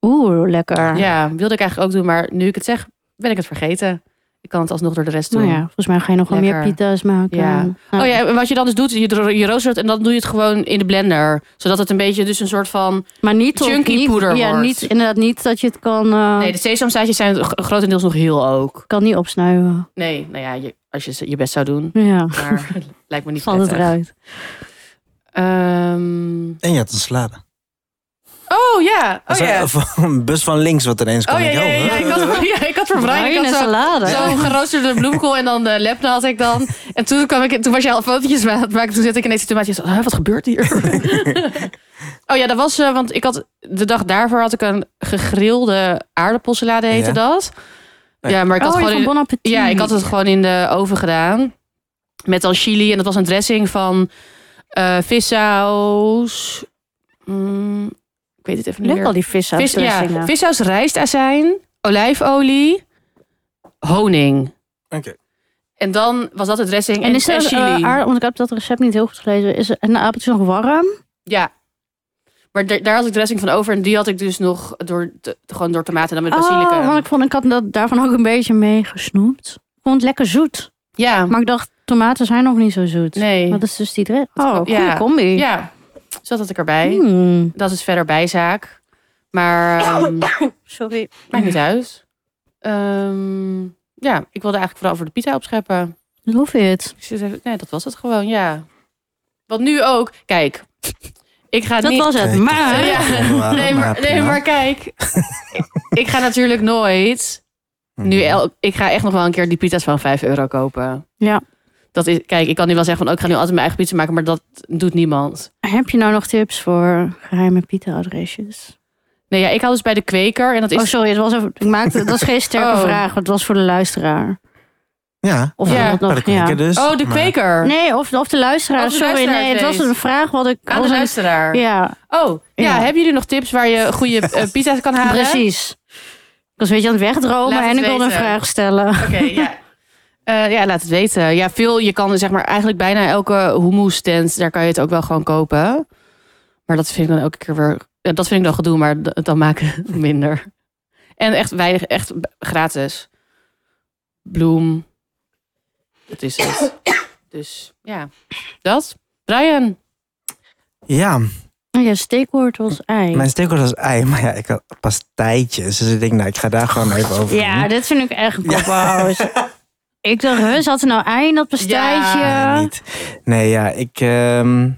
S1: Oeh, lekker.
S2: Ja, wilde ik eigenlijk ook doen, maar nu ik het zeg, ben ik het vergeten. Ik kan het alsnog door de rest doen.
S1: Nou ja, volgens mij ga je nog wel meer
S2: Lekker.
S1: pita's maken.
S2: Ja.
S1: Nou,
S2: Oh ja, en wat je dan dus doet, je, dro- je roostert en dan doe je het gewoon in de blender. Zodat het een beetje dus een soort van...
S1: Maar niet tot-
S2: Chunky
S1: niet,
S2: poeder
S1: Ja,
S2: wordt.
S1: niet, inderdaad niet dat je het kan, eh,
S2: Nee, dus- de sesamzaadjes zijn gro- grotendeels nog heel ook.
S1: kan niet opsnuiven.
S2: Nee, nou ja, je, als je ze- je best zou doen.
S1: Ja,
S2: Maar het lijkt me niet
S1: valt het
S2: prettig.
S1: eruit.
S2: Ehm,
S3: En je had een salade.
S2: oh ja, oh
S3: Zo-
S2: ja.
S3: of Een bus van links wat ineens kwam.
S2: Oh ja,
S3: Ik,
S2: ja, ja, ja,
S3: huh?
S2: ik had, ja, ik had voor Brian, ik
S1: Bruine
S2: had zo-
S1: salade.
S2: zo'n geroosterde bloemkool en dan de lepna had ik dan. En toen, kwam ik, toen was jij al fotootjes aan het maken. Toen zette ik ineens die tomaatjes. "Huh, wat gebeurt hier? oh ja, dat was, eh, want ik had de dag daarvoor had ik een gegrilde aardappelsalade heette
S3: Ja.
S2: dat. Ja, maar ik had
S1: oh,
S2: gewoon
S1: van
S2: in,
S1: Bon Appetit.
S2: ja, ik had het gewoon in de oven gedaan. Met dan chili. En dat was een dressing van eh vissaus. Mm, ik weet het even niet
S1: Leuk
S2: meer.
S1: al die vissaus.
S2: Vis, ja, vissaus, rijstazijn, olijfolie, honing.
S3: Oké.
S2: En dan was dat de dressing en,
S1: En is
S2: en
S1: er
S2: chili.
S1: eh, aard- want ik heb dat recept niet heel goed gelezen. Is een appeltje nog warm?
S2: ja. Maar daar- daar had ik dressing van over. En die had ik dus nog door, te- gewoon door tomaten en dan met
S1: Oh,
S2: basilicum.
S1: want ik vond ik had dat, daarvan ook een beetje mee gesnoept. Ik vond het lekker zoet.
S2: Ja,
S1: Maar ik dacht, tomaten zijn nog niet zo zoet.
S2: nee.
S1: Dat is dus die dre- Oh, goede
S2: ja.
S1: combi.
S2: Ja, dus dat had ik erbij.
S1: Mm.
S2: Dat is verder bijzaak. Maar ehm,
S1: Sorry.
S2: maakt niet uit. Ehm, ja, ik wilde eigenlijk vooral voor de pizza opscheppen.
S1: Love it.
S2: Ik zit even- nee, dat was het gewoon, ja. Want nu ook, kijk, ik ga
S1: Dat
S2: niet...
S1: was het.
S3: Kijk,
S1: Maar...
S2: Ja.
S3: Ja,
S2: nee, maar, nee,
S3: prima.
S2: maar kijk, ik ga natuurlijk nooit...
S3: Mhm.
S2: Nu el- ik ga echt nog wel een keer die pizza's van 5 euro kopen.
S1: Ja.
S2: Dat is, kijk, ik kan nu wel zeggen van, oh, ik ga nu altijd mijn eigen pizza maken, maar dat doet niemand.
S1: Heb je nou nog tips voor geheime pita-adresjes?
S2: Nee, ja, ik had dus bij de kweker en dat
S1: Oh,
S2: is...
S1: sorry. Het was even, ik maakte, dat is geen sterke
S2: Oh.
S1: vraag. want Het was voor de luisteraar.
S3: Ja,
S1: Of
S2: Ja,
S1: iemand
S3: bij de
S1: nog, ja.
S3: kweker dus.
S2: Oh, de
S3: maar-
S2: kweker.
S1: Nee, of, of de luisteraar.
S2: Of de
S1: sorry,
S2: luisteraar
S1: nee. Het was
S2: weet.
S1: een vraag wat ik...
S2: Aan Ah, de
S1: als een-
S2: luisteraar.
S1: Oh, Ja,
S2: Oh, ja,
S1: Ja.
S2: hebben jullie nog tips waar je goede eh, pizza's kan halen?
S1: precies. Ik was een beetje aan het wegdromen
S2: Laat
S1: en
S2: het
S1: ik wilde een
S2: weten.
S1: vraag stellen.
S2: Oké, ja. Eh, ja, laat het weten. Ja, veel, je kan zeg maar eigenlijk bijna elke hummus stand, daar kan je het ook wel gewoon kopen. Maar dat vind ik dan elke keer weer, ja, dat vind ik dan gedoe, maar d- dan maken minder. En echt weinig, echt b- gratis. Bloem. Dat is het. Dus ja, dat. Brian.
S3: Ja,
S1: Oh Ja, steekwoord was ei.
S3: mijn steekwoord was ei, maar ja, ik had pastijtjes. Dus ik denk, nou, ik ga daar gewoon even over.
S1: Ja,
S3: doen.
S1: dit vind ik echt een cop-out. Ik dacht, huh, zat er nou ei in dat pastijtje?
S2: Ja.
S3: Nee, niet. Nee, ja, ik... ehm,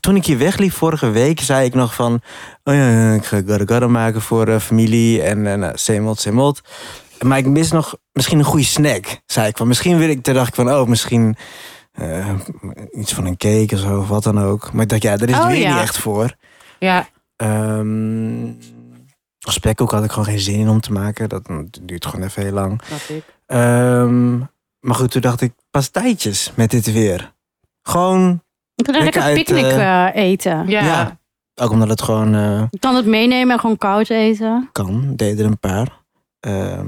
S3: toen ik hier wegliep vorige week, zei ik nog van... Oh ja, ik ga gara gara maken voor eh, familie en eh, nou, semelt, semelt. Maar ik mis nog misschien een goede snack, zei ik. Van, misschien wil ik, toen dacht ik van, oh, misschien... eh, iets van een cake of zo, of wat dan ook. Maar ik dacht, ja, daar is het
S1: Oh,
S3: weer
S1: ja.
S3: niet echt voor.
S2: Ja,
S3: Ehm spekkoek had ik gewoon geen zin in om te maken. Dat mm, duurt gewoon even heel lang.
S2: snap ik.
S3: Ehm, maar goed, toen dacht ik, pastijtjes met dit weer. Gewoon,
S1: Ik kan er lekker
S3: Lekker uit,
S1: picknick eh, eten.
S2: Ja.
S3: Ja. ook omdat het gewoon eh,
S1: Ik kan het meenemen en gewoon koud eten.
S3: kan, deden er een paar. Ehm,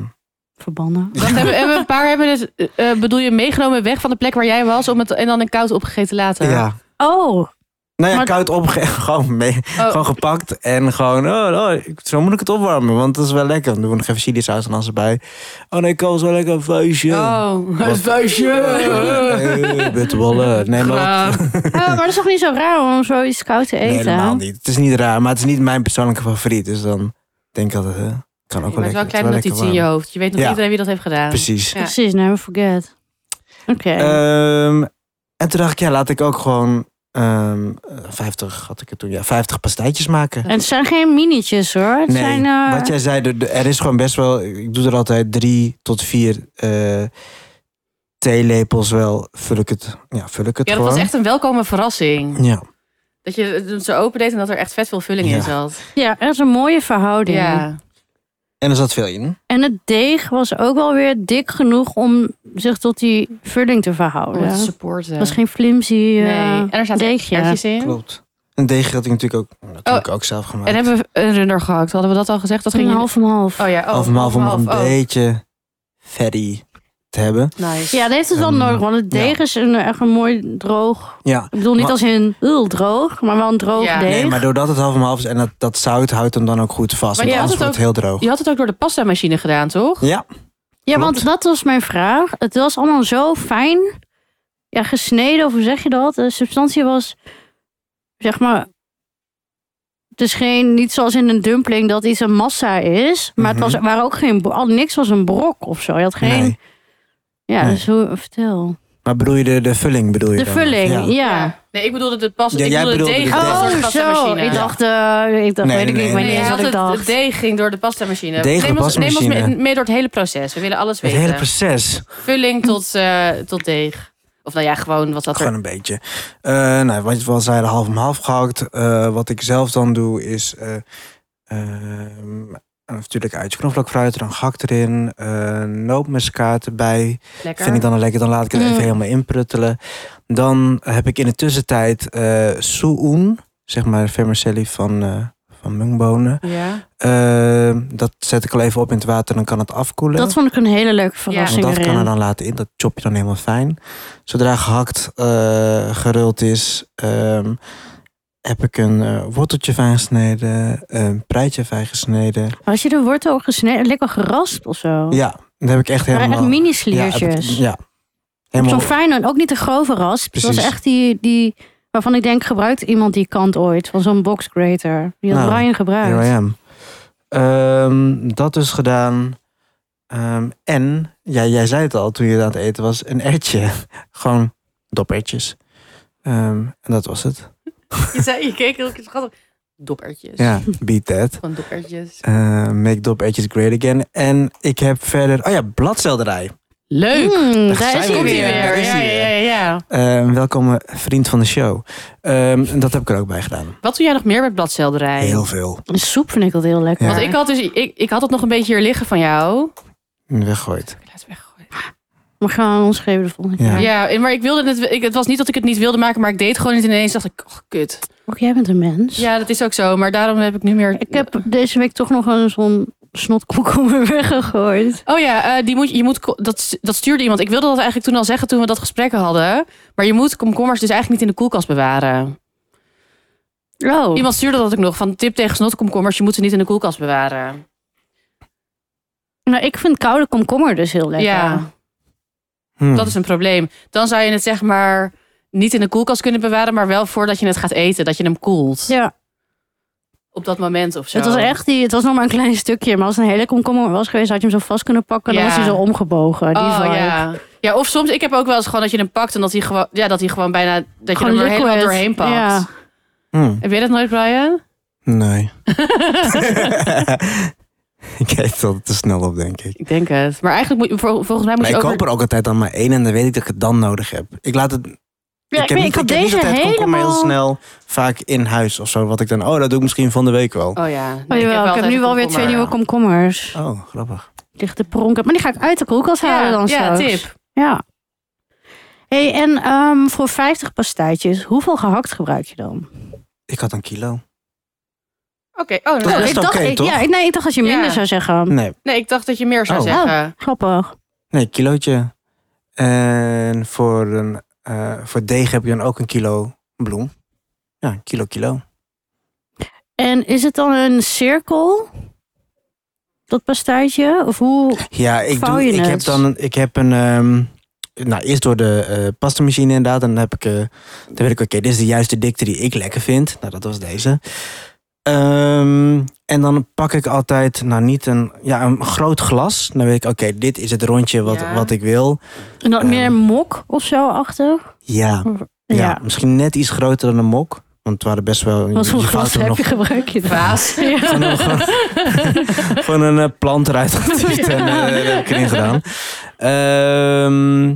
S1: Verbannen.
S2: Want hebben, hebben een paar hebben het, eh, bedoel je, meegenomen weg van de plek waar jij was om het en dan een koud opgegeten later?
S3: ja.
S1: Oh,
S3: Nou ja,
S1: Maar-
S3: koud opgegeven, gewoon, mee, gewoon gepakt. En gewoon, oh, oh, ik- zo moet ik het opwarmen, want dat is wel lekker. Dan doen we nog even chilisaus en alles erbij. Oh nee, kool is wel lekker, een vuistje.
S2: Oh,
S3: Wat- Eh, Bitterballen. Nee, maar
S1: Oh, maar dat is toch niet zo raar om zoiets koud te
S3: Nee,
S1: eten?
S3: helemaal niet. Het is niet raar, maar het is niet mijn persoonlijke favoriet. Dus dan denk ik altijd, hè, kan ook
S2: maar
S3: wel
S2: het is
S3: lekker.
S2: wel een
S3: het
S2: kleine notitie
S3: is wel lekker
S2: in je
S3: warm.
S2: hoofd. Je weet nog
S3: Ja.
S2: iedereen wie dat heeft gedaan.
S3: Precies.
S2: Ja.
S1: Precies, never forget. Oké.
S3: Ehm, en toen dacht ik, ja, laat ik ook gewoon ehm, eh, 50, had ik het toen, ja, 50 pastijtjes maken.
S1: en het zijn geen minietjes hoor. Het
S3: nee,
S1: zijn. eh,
S3: wat jij zei, de- de- er is gewoon best wel, ik doe er altijd drie tot vier eh, theelepels wel, vul ik het, ja, vul ik het
S2: Ja, dat
S3: gewoon.
S2: was echt een welkome verrassing.
S3: Ja,
S2: Dat je het zo open deed en dat er echt vet veel vulling
S3: Ja.
S2: in zat.
S1: Ja, dat is een mooie verhouding.
S2: Ja.
S3: en er zat veel in.
S1: En het deeg was ook wel weer dik genoeg om zich tot die vulling te
S2: Om
S1: verhouden.
S2: het te
S1: Het
S2: supporten.
S1: was geen flimsy eh,
S2: nee. En er zaten
S1: deegje.
S2: erwtjes in.
S3: Klopt. Een deeg had ik natuurlijk ook, natuurlijk ook zelf gemaakt.
S2: Oh. En hebben we een runner gehakt? Hadden we dat al gezegd? Dat
S1: Een
S2: ging je-
S1: half om half.
S2: Oh ja, oh,
S3: half en half om nog een
S2: half, oh.
S3: beetje fatty te hebben.
S2: Nice.
S1: Ja, dat heeft het wel
S3: Ehm,
S1: nodig, want het deeg is een, echt een mooi droog.
S3: Ja.
S1: Ik bedoel niet
S3: Maar-
S1: als in heel droog, maar wel een droog
S2: Ja.
S1: deeg.
S3: Nee, maar doordat het half om half is en dat, dat zout houdt hem dan ook goed vast.
S2: Maar
S3: Want
S2: je had
S3: anders
S2: het
S3: wordt het heel droog.
S2: Je had het ook door de pasta-machine gedaan, toch?
S3: Ja,
S1: ja, want
S3: klopt.
S1: dat was mijn vraag. Het was allemaal zo fijn ja, gesneden, of hoe zeg je dat? De substantie was, zeg maar... Het is geen, niet zoals in een dumpling dat iets een massa is. Maar het was, waren ook geen, bro- al niks was een brok of zo. Je had geen,
S3: Mhm. nee.
S1: ja,
S3: nee.
S1: dus hoe, vertel.
S3: Maar bedoel je de, de vulling? Bedoel je
S1: De
S3: dan?
S1: vulling, ja.
S2: Nee, ik bedoelde de pasta.
S3: Ja,
S2: ik
S3: jij
S2: bedoelde het deeg.
S3: bedoelde de
S2: dat was door de
S1: Oh, zo.
S2: pasta-machine.
S1: Ik dacht, eh, ik dacht,
S3: Nee,
S1: weet ik niet, ik
S3: nee, nee,
S1: weet
S2: Nee,
S1: niet
S2: hij
S1: eens
S2: had
S1: wat ik
S2: het,
S1: dacht.
S2: het deeg ging door de pasta-machine.
S3: Deeg door
S2: neem,
S3: de
S2: ons, neem ons
S3: pastmachine.
S2: mee, mee door het hele proces. We willen alles
S3: Het
S2: weten.
S3: hele proces.
S2: Vulling tot, eh, tot deeg. Of nou ja, gewoon wat dat er...
S3: Gewoon een beetje. Eh nou, wat je wel zei, de half om half gehakt. Eh, wat ik zelf dan doe is... eh, ehm, natuurlijk uit knoflookfruit, dan gehakt erin. eh nootmuskaat erbij.
S2: Lekker.
S3: Vind ik dan een lekker, dan laat ik het even
S1: Mm.
S3: helemaal inpruttelen. Dan heb ik in de tussentijd eh soeoen, zeg maar vermicelli van, eh van mungbonen.
S2: Ja.
S3: Eh, dat zet ik al even op in het water, dan kan het afkoelen.
S1: Dat eh, vond ik een hele leuke verrassing
S3: Want dat kan
S1: erin.
S3: er dan laten in, dat chop je dan helemaal fijn. Zodra gehakt, eh, geruld is, ehm, heb ik een eh, worteltje fijn gesneden, een preitje fijn gesneden.
S1: Had je de wortel ook gesneden, lekker geraspt of zo?
S3: Ja, dat heb ik echt
S1: Het waren
S3: helemaal...
S1: echt
S3: ja, heb ik-
S1: mini-sliertjes.
S3: ja.
S1: Zo'n
S3: helemaal
S1: fijne, ook niet de grove rasp. Het was
S3: Precies.
S1: echt die, die, waarvan ik denk, gebruikt iemand die kant ooit? Van zo'n box grater. Die had
S3: Nou,
S1: Brian gebruikt.
S3: Here I am. Ehm, dat is gedaan. Ehm, en, ja, jij zei het al toen je aan het eten was, een ertje. Gewoon dopertjes. Ehm, en dat was het.
S2: Je, zei, je keek heel schattig. Doppertjes.
S3: Ja, beat that.
S2: Gewoon doppertjes.
S3: Eh, make dopertjes great again. En ik heb verder, oh ja, bladselderij.
S2: Leuk.
S1: Mm,
S3: Daar
S1: daar
S3: zijn
S1: is
S3: we
S1: hij
S2: Komt-ie
S1: weer.
S3: weer. Daar
S2: weer.
S3: is
S2: Ja,
S3: hij
S2: ja,
S3: weer.
S2: ja, ja.
S3: Ehm welkom eh, vriend van de show. Ehm, dat heb ik er ook bij gedaan.
S2: Wat doe jij nog meer met bladselderij?
S3: Heel veel.
S1: Soep vind ik dat heel lekker.
S3: Ja.
S2: Want ik had, dus, ik, ik had het nog een beetje hier liggen van jou.
S3: Weggooid.
S2: Laat weggooien.
S1: We gaan ons geven de volgende
S3: Ja.
S1: keer.
S2: Ja, en- maar ik wilde het, ik, het was niet dat ik het niet wilde maken, maar ik deed het gewoon niet ineens. Dacht ik, oh, kut.
S1: Ook jij bent een mens.
S2: Ja, dat is ook zo, maar daarom heb ik nu meer.
S1: Ik heb deze week toch nog een zo'n snotkomkommer weggegooid.
S2: Oh ja, eh, die moet, je moet, ko- dat, dat stuurde iemand. Ik wilde dat eigenlijk toen al zeggen toen we dat gesprek hadden. Maar je moet komkommers dus eigenlijk niet in de koelkast bewaren.
S1: Oh.
S2: Iemand stuurde dat ook nog van tip tegen snotkomkommers. Je moet ze niet in de koelkast bewaren.
S1: Nou, ik vind koude komkommer dus heel lekker.
S2: Ja,
S3: Hmm.
S2: dat is een probleem. Dan zou je het zeg maar niet in de koelkast kunnen bewaren, maar wel voordat je het gaat eten, dat je hem koelt.
S1: ja.
S2: Op dat moment of zo.
S1: Het was echt die, het was nog maar een klein stukje, maar als het een hele komkommer was geweest, had je hem zo vast kunnen pakken en
S2: Ja.
S1: dan was hij zo omgebogen. Die
S2: oh,
S1: vibe.
S2: ja. ja, of soms, ik heb ook wel eens gewoon dat je hem pakt en dat hij gewoon, ja, dat hij gewoon bijna, dat je
S1: Gewoon
S2: hem er helemaal
S1: liquid.
S2: doorheen pakt.
S1: Ja.
S3: Hmm.
S2: Heb jij dat nooit, Brian?
S3: Nee. ik eet dat te snel op, denk ik.
S2: Ik denk het. Maar eigenlijk moet je, vol- volgens mij moet
S3: Maar
S2: je
S3: ik
S2: ook...
S3: koop er ook altijd dan maar één en dan weet ik dat ik het dan nodig heb. Ik laat het.
S1: Ja, ik, weet- ik
S3: niet-
S1: had
S3: heb niet
S1: deze
S3: altijd komkommer
S1: helemaal...
S3: heel snel vaak in huis of zo. Wat ik dan. Oh, dat doe ik misschien van de week wel.
S2: Oh ja. Nee,
S1: Oh, jawel, ik heb,
S2: altijd
S1: nu wel weer
S2: een komkommer.
S1: twee nieuwe komkommers.
S3: Oh, grappig.
S1: Ligt te pronken. Maar die ga ik uit de koelkast halen dan
S2: ja,
S1: straks.
S2: tip.
S1: Ja. hey, en ehm, voor 50 pastijtjes, hoeveel gehakt gebruik je dan?
S3: Ik had een kilo.
S2: Oké. Oh,
S3: Dat
S2: nou,
S1: ik
S3: is
S2: ik-
S3: oké,
S1: dacht, ik,
S3: toch? Hmm.
S1: ja, ik- nee, ik dacht dat je minder
S2: Ja.
S1: zou zeggen.
S3: Nee,
S2: nee, ik dacht dat je meer zou
S3: Oh.
S2: zeggen.
S1: Grappig.
S3: nee, kilootje. En voor, een, eh, voor deeg heb je dan ook een kilo bloem. Ja, een kilo, kilo.
S1: En is het dan een cirkel? Dat pastijtje? Of hoe?
S3: Ja, ik,
S1: Vouw
S3: doe,
S1: je
S3: ik
S1: het?
S3: heb dan een, ik heb een. ehm, nou, eerst door de eh pastamachine inderdaad. En dan heb ik. eh, dan weet ik, oké, dit is de juiste dikte die ik lekker vind. Nou, dat was deze. Ehm, en dan pak ik altijd, nou niet een, ja, een groot glas. Dan weet ik, oké, dit is het rondje wat,
S2: Ja.
S3: wat ik wil.
S1: En dan
S3: Ehm.
S1: meer een mok of zo achter?
S3: Ja, ja. misschien net iets groter dan een mok. Want het waren best wel...
S1: Want hoeveel
S3: vouwt
S1: glas
S3: hem
S1: heb je gebruik je dan?
S2: Vaas.
S3: Gewoon een, gewoon- gewoon een eh, plant eruit getiet en eh, dat heb ik erin gedaan. Ehm,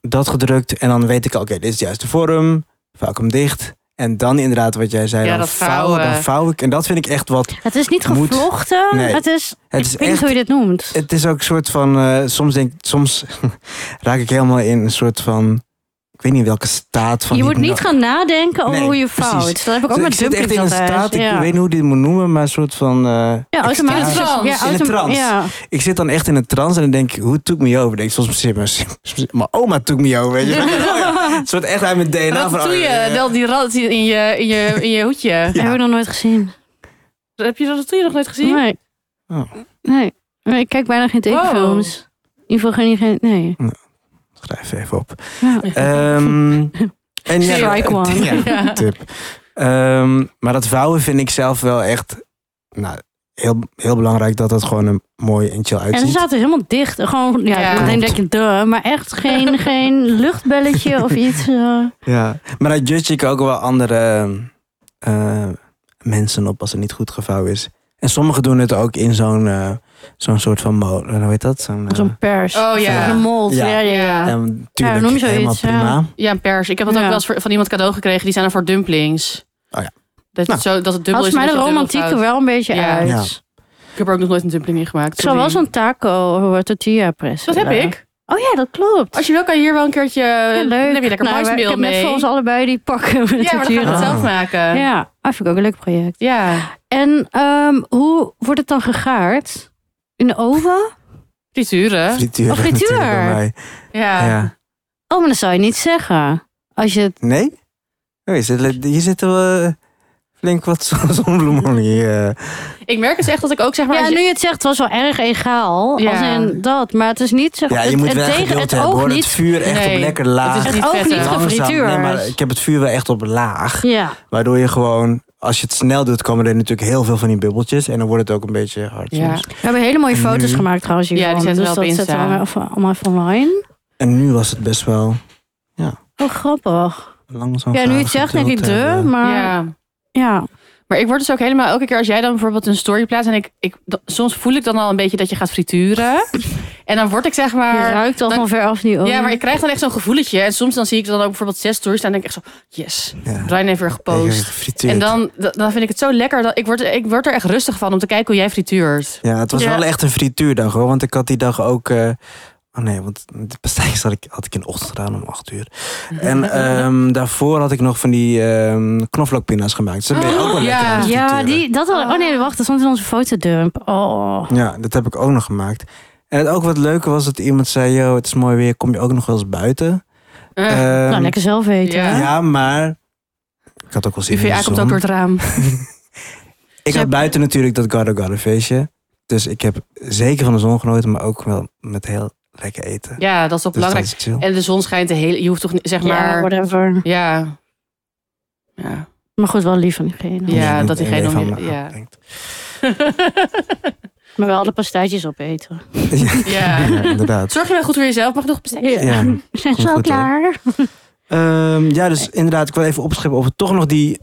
S3: dat gedrukt en dan weet ik al, oké, dit is juist de vorm. Vouw ik hem dicht. En dan inderdaad wat jij zei,
S2: Ja,
S3: dan
S2: dat
S3: vouwen. Dan
S2: vouwen.
S3: vouw ik. En dat vind ik echt wat...
S1: Het is niet
S3: Moet.
S1: gevlochten.
S3: Nee.
S1: Het is,
S3: Het is
S1: ik weet niet
S3: echt...
S1: hoe je dit noemt.
S3: Het is ook een soort van... eh, soms denk soms raak ik helemaal in een soort van Ik weet niet welke staat van
S1: je
S3: die
S1: moet niet
S3: hypno-
S1: gaan nadenken over
S3: Nee,
S1: hoe je
S3: precies.
S1: fout. Dat heb ik ook
S3: Dus
S1: met
S3: ik zit echt
S1: dumpjes
S3: in een
S1: altijd.
S3: staat, ik
S1: ja.
S3: weet niet hoe je dit moet noemen, maar een soort van... eh,
S1: ja, automatisch.
S3: extase.
S2: trance.
S1: Ja,
S2: In
S3: een
S1: autom-
S3: trance.
S1: Ja.
S3: Ik zit dan echt in een trance en dan denk ik, hoe took me over? Denk ik, soms zit mijn, mijn oma took me over, weet je. Oh ja, Het wordt echt uit mijn DNA. van,
S2: Wat
S3: oh
S2: doe je?
S3: ja,
S2: Wel die rat in je, in je, in je hoedje.
S1: Dat heb ik nog nooit gezien.
S2: Heb je dat toen nog nooit gezien?
S1: Nee.
S3: Oh.
S1: nee. Nee, Ik kijk bijna geen tekenfilms. In ieder geval geen... geen nee.
S3: Schrijf even op.
S1: Ja.
S3: Ehm, en ja,
S1: Strike one.
S3: ja,
S2: Ja.
S3: tip. Ehm, maar dat vouwen vind ik zelf wel echt nou, heel, heel belangrijk dat dat gewoon een mooi en chill
S1: En ze
S3: uitziet.
S1: zaten helemaal dicht. Gewoon, ja,
S2: Ja.
S1: ik denk dat je duh, maar echt geen, geen luchtbelletje of iets. eh.
S3: Ja. Maar dan judge ik ook wel andere eh, mensen op als het niet goed gevouwen is. En sommigen doen het ook in zo'n eh, zo'n soort van mo. Hoe heet dat? Zo'n, eh,
S1: Zo'n pers.
S2: Oh ja.
S1: Zo'n mold.
S3: Ja.
S1: Ja, ja, Ah. ja.
S3: en tuurlijk,
S1: noem je zoiets,
S3: helemaal
S1: ja.
S3: prima.
S2: Ja, een pers. Ik heb dat
S1: Ja.
S2: ook wel eens voor- van iemand cadeau gekregen. Die zijn er voor dumplings.
S3: Oh ja.
S2: Dat, het zo, dat het dubbel
S1: Had voor
S2: is.
S1: Nou. mij
S2: en
S1: de
S2: dat je
S1: romantieke
S2: dubbel fout-
S1: wel een beetje
S2: Ja.
S1: uit.
S3: Ja.
S2: Ik heb er ook nog nooit een dumpling in gemaakt.
S1: Het zou wel
S2: sorry.
S1: zo'n taco of tortilla press.
S2: Dat heb ik.
S1: Oh ja, dat klopt.
S2: Als je wil, kan je hier wel een keertje...
S1: Ja, leuk.
S2: Dan heb je lekker
S1: Nou,
S2: maismeel
S1: maar Ik heb
S2: mee.
S1: net voor ons allebei die pakken met
S2: ja, maar dan gaan we
S1: tortilla.
S2: het zelf
S3: Ah.
S2: maken. Ja.
S1: Ja, dat vind ik ook een leuk project. En ehm, hoe wordt het dan gegaard? In de oven?
S2: Frituren.
S3: Frituur.
S1: Oh, frituur.
S3: natuurlijk bij mij.
S2: Ja.
S3: Ja.
S1: Oh, maar dat zou je niet zeggen. Als je het...
S3: Nee? Oh, je zit, hier zitten wel flink wat zon- zonbloemolie. eh.
S2: Ik merk dus echt dat ik ook zeg maar...
S1: Ja,
S2: als je-
S1: nu je het zegt, het was wel erg egaal.
S2: Ja.
S1: Als in dat. Maar het is niet zeg,
S3: Ja, je
S1: het,
S3: moet
S1: het
S3: wel
S1: tegen
S3: geduld
S1: het
S3: hebben
S1: oog
S3: hoor.
S1: niet.
S3: Het vuur echt
S2: Nee,
S3: op lekker
S2: het
S3: laag.
S2: is
S1: Het
S2: niet
S1: oog
S2: vet,
S1: niet
S2: hè?
S3: Langzaam.
S1: gefrituurd.
S3: Nee, maar ik heb het vuur wel echt op laag.
S1: Ja.
S3: Waardoor je gewoon, als je het snel doet, komen er natuurlijk heel veel van die bubbeltjes. En dan wordt het ook een beetje hard.
S2: Ja.
S3: soms.
S1: We hebben hele mooie
S3: En
S1: foto's
S3: nu?
S1: gemaakt trouwens
S2: die
S1: hiervan.
S2: zetten we
S1: dus
S2: wel op
S1: dat zetten we
S2: Insta.
S1: allemaal, of- allemaal even online.
S3: En nu was het best wel
S1: Oh, grappig.
S3: langzaam.
S1: Ja, nu je het zegt, denk ik de, maar ja.
S2: ja. Maar ik word dus ook helemaal elke keer als jij dan bijvoorbeeld een story plaatst en ik, ik d- soms voel ik dan al een beetje dat je gaat frituren. En dan word ik zeg
S1: je
S2: maar.
S1: ruikt al
S2: dan-
S1: van ver af nu ook.
S2: Ja, maar ik krijg dan echt zo'n gevoeletje. En soms dan zie ik dan ook bijvoorbeeld zes stories staan en denk ik echt zo, yes, Brian heeft weer gepost. En dan, d- dan vind ik het zo lekker. Dat, ik, word, ik word er echt rustig van om te kijken hoe jij frituurt.
S3: Ja, het was
S1: Ja.
S3: wel echt een frituurdag hoor. Want ik had die dag ook. eh, oh nee, want de pastijs had ik, had ik in de ochtend gedaan om 8 uur. En ehm, daarvoor had ik nog van die ehm knoflookpina's gemaakt. Dus dat ben je
S2: Oh,
S3: ook wel lekker
S2: ja.
S3: aan het
S1: Ja,
S3: frituren.
S1: die, dat al,
S2: Ah.
S1: Oh nee, wacht, dat stond in onze fotodump. Oh.
S3: Ja, dat heb ik ook nog gemaakt. En het ook wat leuker was dat iemand zei: Yo, het is mooi weer, kom je ook nog wel eens buiten?
S2: Eh,
S3: Ehm,
S1: nou, lekker zelf weten.
S2: ja.
S1: hè?
S3: Ja, maar. Ik had ook wel zin in de
S2: IVA komt
S3: zon.
S2: ook door het raam.
S3: Ik had buiten natuurlijk dat Garda Garda feestje. Dus ik heb zeker van de zon genoten, maar ook wel met heel lekker eten.
S2: Ja, dat is toch
S3: Dus dat
S2: belangrijk.
S3: is chill.
S2: En de zon schijnt de hele. Je hoeft toch niet- zeg
S1: Ja,
S2: maar.
S1: whatever.
S2: Ja. Ja.
S1: Maar goed, wel lief van diegene.
S2: Ja.
S3: niet
S2: dat diegene
S3: één
S2: om
S3: van
S2: je-
S3: me
S2: ja.
S3: denkt.
S1: Maar wel de pastaatjes opeten.
S2: Ja.
S3: Ja, inderdaad.
S2: Zorg je wel goed voor jezelf. Mag ik nog bestellen?
S3: Ja.
S1: We zijn
S3: Komt
S1: zo
S3: goed, hoor.
S1: klaar.
S3: Ehm, ja, dus inderdaad, ik wil even opschrijven of het toch nog die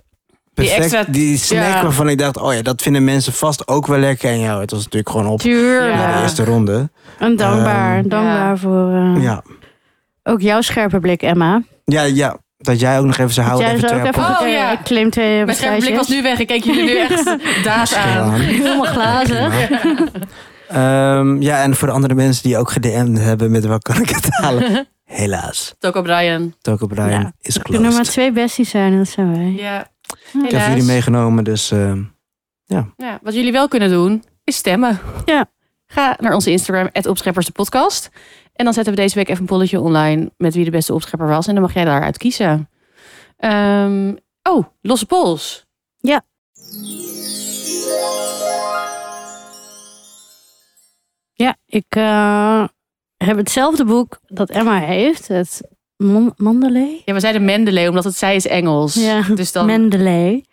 S3: perfect, die,
S2: extra-
S3: snack
S2: ja.
S3: waarvan ik dacht, oh ja, dat vinden mensen vast ook wel lekker. En ja, het was natuurlijk gewoon op
S1: Tuurlijk.
S3: na de
S2: Ja.
S3: eerste ronde.
S1: En dankbaar.
S3: Ehm,
S1: dankbaar
S2: Ja.
S1: voor eh,
S3: Ja,
S1: ook jouw scherpe blik, Emma.
S3: ja, ja. Dat jij ook nog even zou
S1: Dat
S3: houden.
S1: jij
S3: Even
S1: zo ook
S3: twee
S1: even
S2: aparte-
S1: oh,
S2: Oh, ja.
S1: ja. claim twee
S2: Mijn scherpe blik was
S1: bedrijfjes.
S2: nu weg. Ik keek jullie nu echt daas aan.
S3: appeltjes gedaan.
S1: helemaal glazig.
S3: Ehm, ja, en voor de andere mensen die ook gedm'd hebben met waar kan ik het halen. Helaas,
S2: Toko Brian.
S3: Toko Brian
S1: Ja,
S3: is
S1: Er kunnen maar
S3: closed.
S1: twee besties zijn, en dat zijn wij.
S2: Ja.
S3: Ik heb jullie meegenomen, dus ehm,
S2: Ja, wat jullie wel kunnen doen, is stemmen.
S1: Ja.
S2: Ga naar onze Instagram, opscheppers de podcast. En dan zetten we deze week even een polletje online met wie de beste opschepper was. En dan mag jij daaruit kiezen. Ehm, oh, losse pols.
S1: Ja. Ja, ik eh, heb hetzelfde boek dat Emma heeft. Het Mon- Mandalay?
S2: Ja, we zeiden Mendeley, omdat het zij is Engels.
S1: Ja,
S2: Dus dan...
S1: Mendeley.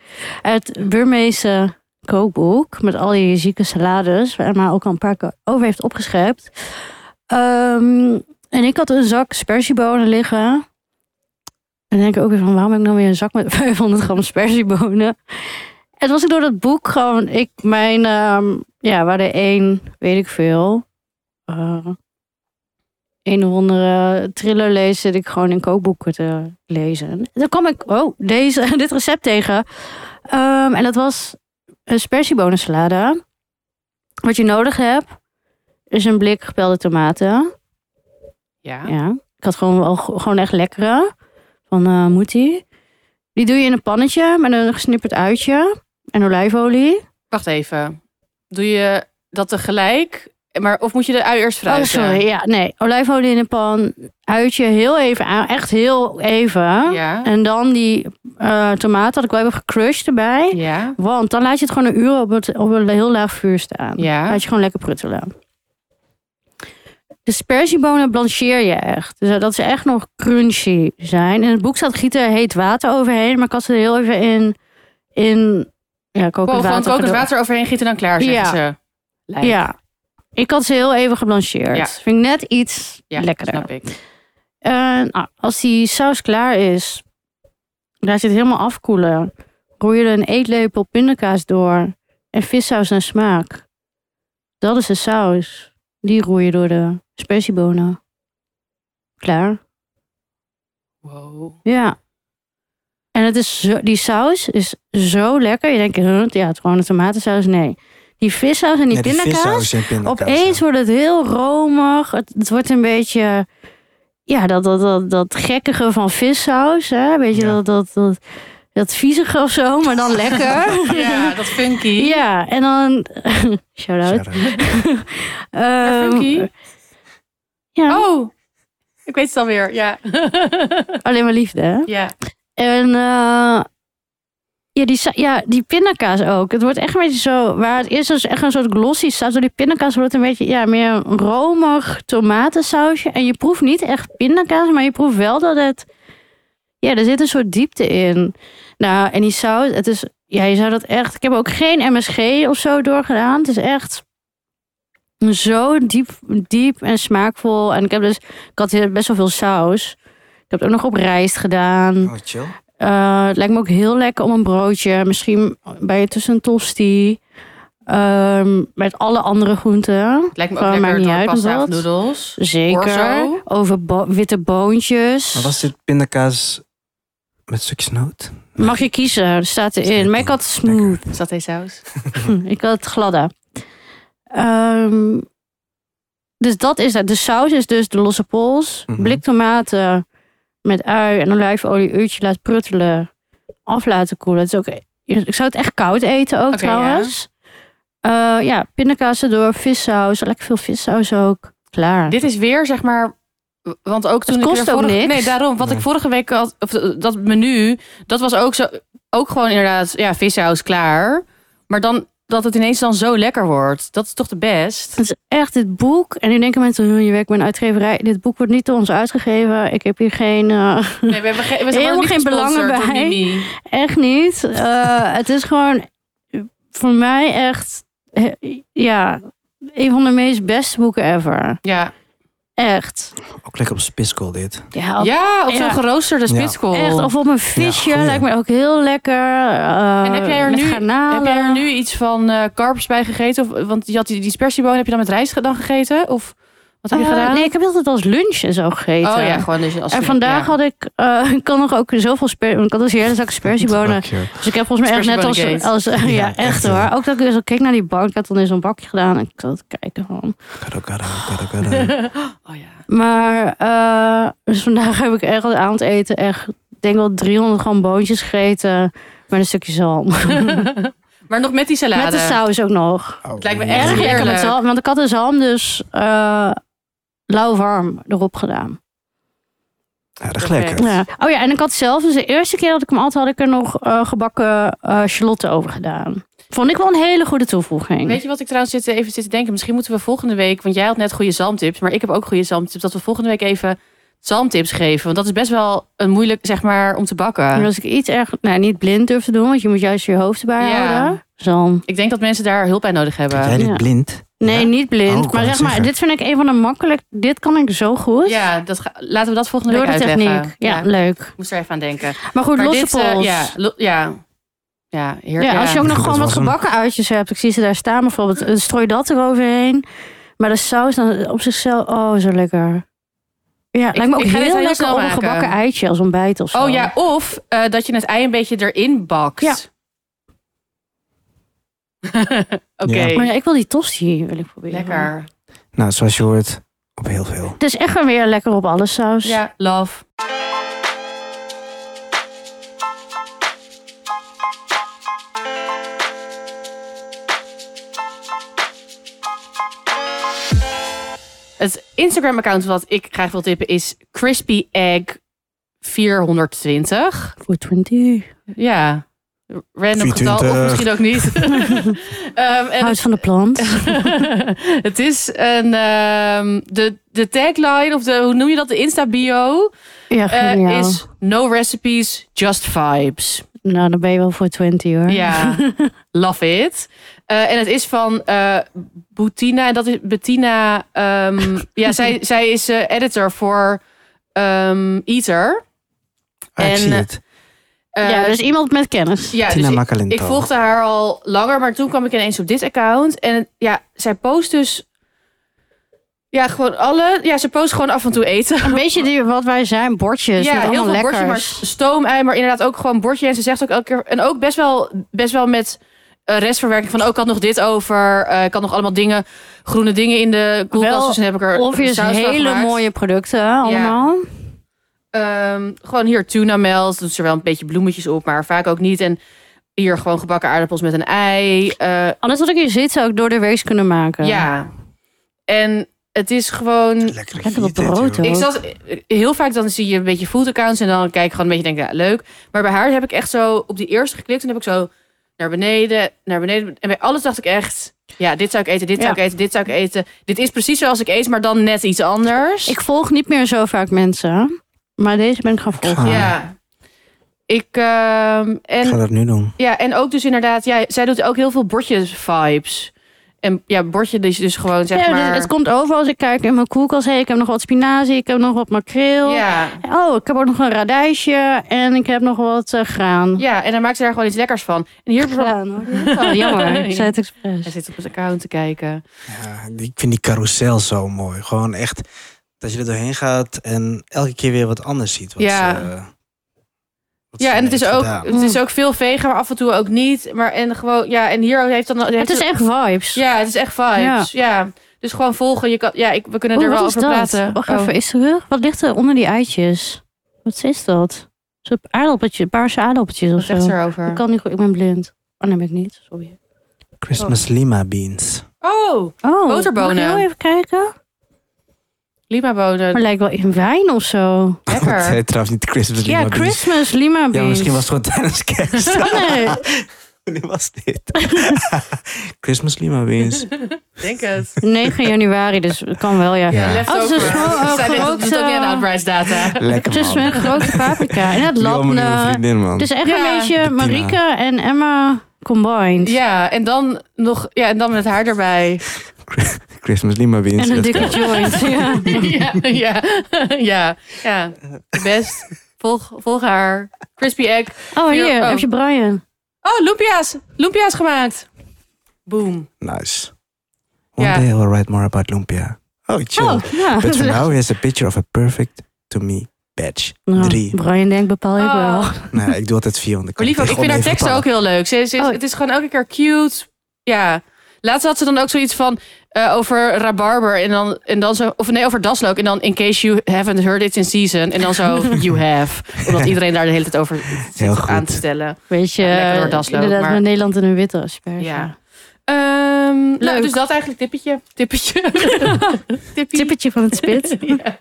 S1: Het Burmeese kookboek met al die zieke salades, waar Emma ook al een paar keer over heeft opgeschept. Ehm, en ik had een zak sperziebonen liggen. En denk ik ook weer van, waarom heb ik nou weer een zak met 500 gram sperziebonen? En toen was ik door dat boek gewoon, ik, mijn, ehm, ja, waar de één, weet ik veel, eh een of andere thriller lees, zit ik gewoon in kookboeken te lezen. En dan kwam ik, oh, deze, dit recept tegen. Ehm, en dat was een spersiebonensalade. Wat je nodig hebt, is een blik gepelde tomaten.
S2: Ja.
S1: Ja. Ik had gewoon, wel, gewoon echt lekkere. van eh Moetie. Die doe je in een pannetje met een gesnipperd uitje en olijfolie.
S2: Wacht even. Doe je dat tegelijk? Maar, of moet je de ui eerst
S1: Oh,
S2: fruiten?
S1: sorry. Ja, nee. Olijfolie in een pan. Uitje heel even aan. Echt heel even.
S2: Ja.
S1: En dan die eh tomaten had ik wel even gecrushed erbij.
S2: Ja.
S1: Want dan laat je het gewoon een uur op, het, op een heel laag vuur staan.
S2: Ja.
S1: Laat je gewoon lekker pruttelen. De sperziebonen blancheer je echt. Dus dat ze echt nog crunchy zijn. In het boek staat gieten heet water overheen. Maar ik had ze er heel even in... in ja, kokend
S2: Gewoon
S1: water.
S2: kokend water,
S1: gedo-
S2: overheen gieten en dan klaar, zeggen
S1: Ja.
S2: ze. Lijkt.
S1: Ja. Ik had ze heel even geblancheerd.
S2: Ja.
S1: Vind ik net iets
S2: Ja,
S1: lekkerder.
S2: snap ik.
S1: Eh, nou, als die saus klaar is, laat je het helemaal afkoelen. Roer je er een eetlepel pindakaas door en vissaus naar smaak. Dat is de saus. Die roer je door de spersiebonen. Klaar.
S2: Wow.
S1: Ja. En het is zo, die saus is zo lekker. Je denkt, huh, ja, het is gewoon een tomatensaus. Nee. Die vissaus en die
S3: Ja,
S1: pindakaas.
S3: vissaus en pindakaas.
S1: Opeens wordt het heel romig. Het, het wordt een beetje. Ja, dat, dat, dat, dat gekkige van vissaus. Hè? Weet je,
S3: Ja.
S1: dat, dat, dat, dat viezige of zo, maar dan lekker.
S2: Ja, dat funky.
S1: ja, en dan. Shout out. Ehm,
S3: Sharon.
S2: Maar funky.
S1: ja,
S2: Oh, ik weet het alweer. Ja.
S1: alleen maar liefde. Hè?
S2: ja.
S1: En eh, ja, die, sa- ja, die pindakaas ook. Het wordt echt een beetje zo. Waar het eerst als echt een soort glossy staat, door die pindakaas wordt het een beetje ja, meer een romig tomatensausje. En je proeft niet echt pindakaas, maar je proeft wel dat het. Ja, er zit een soort diepte in. Nou, en die saus, het is. Ja, je zou dat echt. Ik heb ook geen MSG of zo doorgedaan. Het is echt. Zo diep, diep en smaakvol. En ik heb dus. Ik had hier best wel veel saus. Ik heb het ook nog op rijst gedaan.
S3: Oh, chill.
S1: Eh, het lijkt me ook heel lekker om een broodje. Misschien bij je tussen een tosti. Ehm, met alle andere groenten.
S2: Het lijkt me ook
S1: Gewoon, maakt
S2: lekker
S1: niet
S2: door
S1: uit of
S2: pasta of
S1: wat.
S2: noedels.
S1: Zeker.
S2: Orzo?
S1: Over bo- witte boontjes.
S3: Maar was dit pindakaas met stukjes noot?
S1: Mag je kiezen, dat staat erin. Maar ik had smooth.
S2: Saté saus.
S1: Hm, ik had het gladde. Ehm, dus dat is het. De saus is dus de losse pols.
S3: Mhm.
S1: Blik tomaten met ui en olijfolie. Uurtje laat pruttelen. Af laten koelen. Het is ook, ik zou het echt koud eten ook
S2: Oké,
S1: trouwens. Ja, ja pindakaas erdoor. Vissaus. Lekker veel vissaus ook. Klaar.
S2: Dit is weer, zeg maar... Want ook toen
S1: Het kost
S2: ik er
S1: ook
S2: vorige-
S1: niks.
S2: Nee, daarom. Wat
S3: Nee.
S2: ik vorige week had... Of eh, dat menu, dat was ook zo... Ook gewoon inderdaad, ja, vissaus klaar. Maar dan dat het ineens dan zo lekker wordt. Dat is toch de best?
S1: Het is echt dit boek. En nu denken mensen, "Huh, je werkt bij een uitgeverij. Dit boek wordt niet door ons uitgegeven. Ik heb hier geen... eh,
S2: Nee, we hebben geen, we
S1: Helemaal
S2: niet
S1: geen
S2: gesponsord
S1: belangen
S2: door
S1: bij.
S2: Mimi.
S1: Echt niet. Eh, het is gewoon voor mij echt eh, ja, een van de meest beste boeken ever.
S2: Ja,
S1: Echt.
S3: Ook lekker op spitskool dit.
S1: Ja, op-
S2: ja op zo'n
S1: Ja.
S2: geroosterde
S3: Ja.
S2: spitskool.
S1: echt. Of op een visje
S3: Ja, goeie.
S1: lijkt me ook heel lekker. Eh,
S2: En heb jij er
S1: met
S2: nu-
S1: garnalen.
S2: Heb jij er nu iets van eh karps bij gegeten? Of, want je had die, die spersiebonen, heb je dan met rijst dan gegeten? Of wat heb je
S1: Eh,
S2: gedaan?
S1: nee, ik heb altijd als lunch en zo gegeten.
S2: oh ja, gewoon dus als
S1: En vandaag had ik, eh, ik kan nog ook zoveel sper, ik had als hele zak spersiebonen. Dus ik heb volgens mij echt net als,
S2: Spersiebonen
S1: als ja,
S3: Ja, echt,
S1: echt
S3: ja.
S1: hoor. Ook dat ik zo keek naar die bank, ik had dan in zo'n bakje gedaan en ik zat te kijken van,
S2: Oh ja.
S1: Maar eh, dus vandaag heb ik echt het avondeten echt, ik denk wel 300 gram boontjes gegeten met een stukje zalm.
S2: Maar nog met die salade.
S1: Met de saus ook nog.
S3: Het
S2: lijkt me
S1: Erg
S2: Heerlijk.
S1: lekker met zalm, want ik had de zalm dus eh lauw warm erop gedaan.
S3: Erg lekker.
S1: Ja. Oh ja, en ik had zelf, dus de eerste keer dat ik hem at, had ik er nog eh, gebakken eh shalotten over gedaan. Vond ik wel een hele goede toevoeging.
S2: Weet je wat ik trouwens zit, even zit te denken? Misschien moeten we volgende week, want jij had net goede zalmtips, maar ik heb ook goede zalmtips, dat we volgende week even zalmtips geven. Want dat is best wel een moeilijk, zeg maar, om te bakken.
S1: En als ik iets erg, nou niet blind durf te doen, want je moet juist je hoofd erbij
S2: Ja.
S1: houden. Zalm.
S2: Ik denk dat mensen daar hulp bij nodig hebben.
S3: Jij
S1: Ja.
S3: dit blind?
S1: Nee,
S3: Ja?
S1: niet
S3: Oh,
S1: blind.
S3: ik wou
S1: maar
S3: net
S1: zeg maar,
S3: zeggen.
S1: dit vind ik een van de makkelijk. Dit kan ik zo goed.
S2: Ja, dat ga- laten we dat volgende
S1: door
S2: week
S1: de
S2: uitleggen.
S1: techniek. Ja,
S2: ik
S1: leuk.
S2: moest er even aan denken.
S1: Maar goed,
S2: Maar
S1: losse
S2: dit, eh,
S1: pols.
S2: ja, lo- ja. Ja, heer,
S1: ja, als je ook nog
S3: Dat
S1: gewoon wat
S3: was hem.
S1: gebakken uitjes hebt. Ik zie ze daar staan bijvoorbeeld. eh, Strooi dat eroverheen. Maar de saus dan op zichzelf. Oh, zo lekker. Ja, lijkt me ook
S2: ik ga
S1: heel
S2: dit heel
S1: lekker
S2: snel
S1: op een
S2: maken.
S1: gebakken eitje als ontbijt of zo.
S2: Oh ja, of eh, dat je het ei een beetje erin bakt.
S1: Ja.
S2: Oké,
S3: Ja.
S1: Maar ja, ik wil die tosti wil ik proberen.
S2: lekker.
S3: Nou, zoals je hoort, op heel veel.
S1: Het is echt wel weer lekker op alles saus.
S2: Ja, love. Het Instagram-account wat ik graag wil tippen is Crispy Egg 420.
S1: Voor 20.
S2: Ja, random getal of
S3: 420.
S2: misschien ook niet. Ehm, en
S1: Huis van de plant.
S2: het is een ehm, de, de tagline of de hoe noem je dat de Insta bio
S1: Ja, geniaal.
S2: Eh, is no recipes just vibes.
S1: Nou, dan ben je wel voor 20 hoor.
S2: Ja, love it. Eh, en het is van eh Bettina en dat is Bettina. ehm, ja, zij, zij is eh, editor voor ehm, Eater.
S3: Ah, ik
S2: En,
S3: zie
S2: eh,
S3: het.
S2: Eh,
S1: ja, dus iemand met kennis.
S2: ja,
S3: Tina
S2: dus ik-
S3: Macalinto.
S2: Ik volgde haar al langer, maar toen kwam ik ineens op dit account. En ja, zij post dus. Ja, gewoon alle. Ja, ze post gewoon af en toe eten.
S1: Een beetje die, wat wij zijn, bordjes.
S2: ja,
S1: met
S2: heel
S1: allemaal
S2: veel
S1: lekkers.
S2: bordje, maar stoomei, maar inderdaad ook gewoon bordje. En ze zegt ook elke keer. En ook best wel, best wel met eh, restverwerking van. Oh, ik had nog dit over. eh, ik had nog allemaal dingen, groene dingen in de koelkast.
S1: Wel
S2: Dus dan heb ik er.
S1: Obvious
S2: saus van
S1: hele
S2: gemaakt.
S1: mooie producten hè, allemaal.
S2: Ehm, gewoon hier tuna melt. Doet ze wel een beetje bloemetjes op, maar vaak ook niet. En hier gewoon gebakken aardappels met een ei. eh,
S1: Alles wat ik hier zit zou ik door de wees kunnen maken.
S2: Ja. En het is gewoon.
S3: Lekker
S1: Lekker wat
S3: gegeten,
S1: brood,
S3: joh.
S1: hoor.
S2: Ik zat, heel vaak dan zie je een beetje food accounts en dan kijk ik gewoon een beetje denk ja, leuk. Maar bij haar heb ik echt zo op die eerste geklikt en heb ik zo naar beneden, naar beneden. En bij alles dacht ik echt, ja, dit zou ik eten, dit zou
S1: Ja.
S2: ik eten, dit zou ik eten. Dit is precies zoals ik eet, maar dan net iets anders.
S1: Ik volg niet meer zo vaak mensen. Maar deze ben ik gaan volgen.
S3: Ah.
S2: ja. Ik, ehm,
S3: Ik ga
S2: en,
S3: dat nu doen.
S2: ja, en ook dus inderdaad, ja, zij doet ook heel veel bordjes vibes. En ja, bordje dus, dus gewoon zeg
S1: Ja, dus
S2: maar.
S1: het komt over als ik kijk in mijn koelkast. Hey, ik heb nog wat spinazie, ik heb nog wat makreel.
S2: ja.
S1: Oh, ik heb ook nog een radijsje en ik heb nog wat eh, graan.
S2: ja, en dan maakt ze daar gewoon iets lekkers van. En hier bijvoorbeeld-
S1: Graan, hoor. Oh, jammer, ik zei het expres.
S2: Hij zit op het account te kijken.
S3: Ja, die- ik vind die carousel zo mooi. Gewoon echt dat je er doorheen gaat en elke keer weer wat anders ziet. Wat
S2: Ja.
S3: ze, eh, wat
S2: Ja,
S3: ze
S2: en het is,
S3: heeft
S2: ook,
S3: gedaan.
S2: het is ook veel vegan, maar af en toe ook niet. Maar en gewoon, ja, en hier heeft dan. heeft
S1: Het is
S2: dan-
S1: echt vibes.
S2: Ja, het is echt vibes. Ja. Dus gewoon volgen. Je kan, ja, ik, we kunnen
S1: Oh,
S2: er Nou, wel
S1: wat is
S2: over
S1: dat?
S2: praten.
S1: Wacht
S2: Oh.
S1: even, is er Wat ligt er onder die eitjes? Wat is dat? Zo'n aardappeltje, paarse aardappeltjes
S2: Wat
S1: of zo.
S2: zegt ze
S1: Ik
S2: erover?
S1: kan niet goed, ik ben blind. Oh, nee, ben ik niet. Sorry.
S3: Christmas Lima beans.
S2: Oh,
S1: Oh,
S2: Boterbonen.
S1: Mag ik heel even kijken?
S2: limabonen.
S1: Maar lijkt wel in wijn of zo.
S3: Het
S2: Lekker.
S3: heet trouwens niet Christmas Lima
S1: Ja,
S3: beans.
S1: Christmas, Lima beans.
S3: Ja, maar misschien was het gewoon tijdens kerst.
S1: Oh, nee.
S3: Nu was dit. Christmas Lima beans.
S2: Denk het.
S1: 9 januari, dus het kan wel, ja.
S3: Ja.
S1: Oh, het is een scho- eh,
S2: Dat doet ook
S1: gerookte-
S2: niet aan outprijsdata.
S3: Lekker
S1: Het is
S3: man.
S1: een grote paprika. En het
S3: Die allemaal nu een
S1: labne.
S3: vriendin, man.
S1: Het is echt
S2: Ja.
S1: een beetje Marika en Emma combined.
S2: Ja, en dan nog, ja, en dan met haar erbij.
S3: Christmas Lima beans.
S1: En een
S3: Echt,
S1: dikke joint. Ja.
S2: ja, ja, ja, ja. Best. Volg, volg haar. Crispy egg.
S1: Oh, hier
S2: Oh.
S1: heb je Brian.
S2: Oh, lumpia's. Lumpia's gemaakt. Boom.
S3: Nice. One
S2: Ja.
S3: day I will write more about lumpia. Oh, chill.
S1: Oh, ja.
S3: But for now here's a picture of a perfect to me batch.
S1: Nou,
S3: Drie.
S1: Brian denkt bepaal ik
S2: Oh.
S1: wel.
S3: Nou, ik doe altijd vier, want ik
S2: Maar
S3: kan
S2: lief ook, ik vind haar teksten ook heel leuk. Ze, ze is-
S1: Oh.
S2: Het is gewoon elke keer cute. Ja. Laatst had ze dan ook zoiets van eh, over rabarber en dan, en dan zo, of nee, over daslook en dan in case you haven't heard it in season en dan zo you have. Omdat iedereen daar de hele tijd over
S3: Heel
S2: zit
S3: goed.
S2: aan te stellen.
S1: Weet je,
S2: Ja, lekker door dasloop,
S1: inderdaad
S2: maar-
S1: met Nederland in een witte asperge.
S2: Ja. Ehm, Nou,
S1: Leuk.
S2: dus dat eigenlijk tippetje. Tippetje. Tippie.
S1: Tippetje van het spit. Oh,
S2: Ja.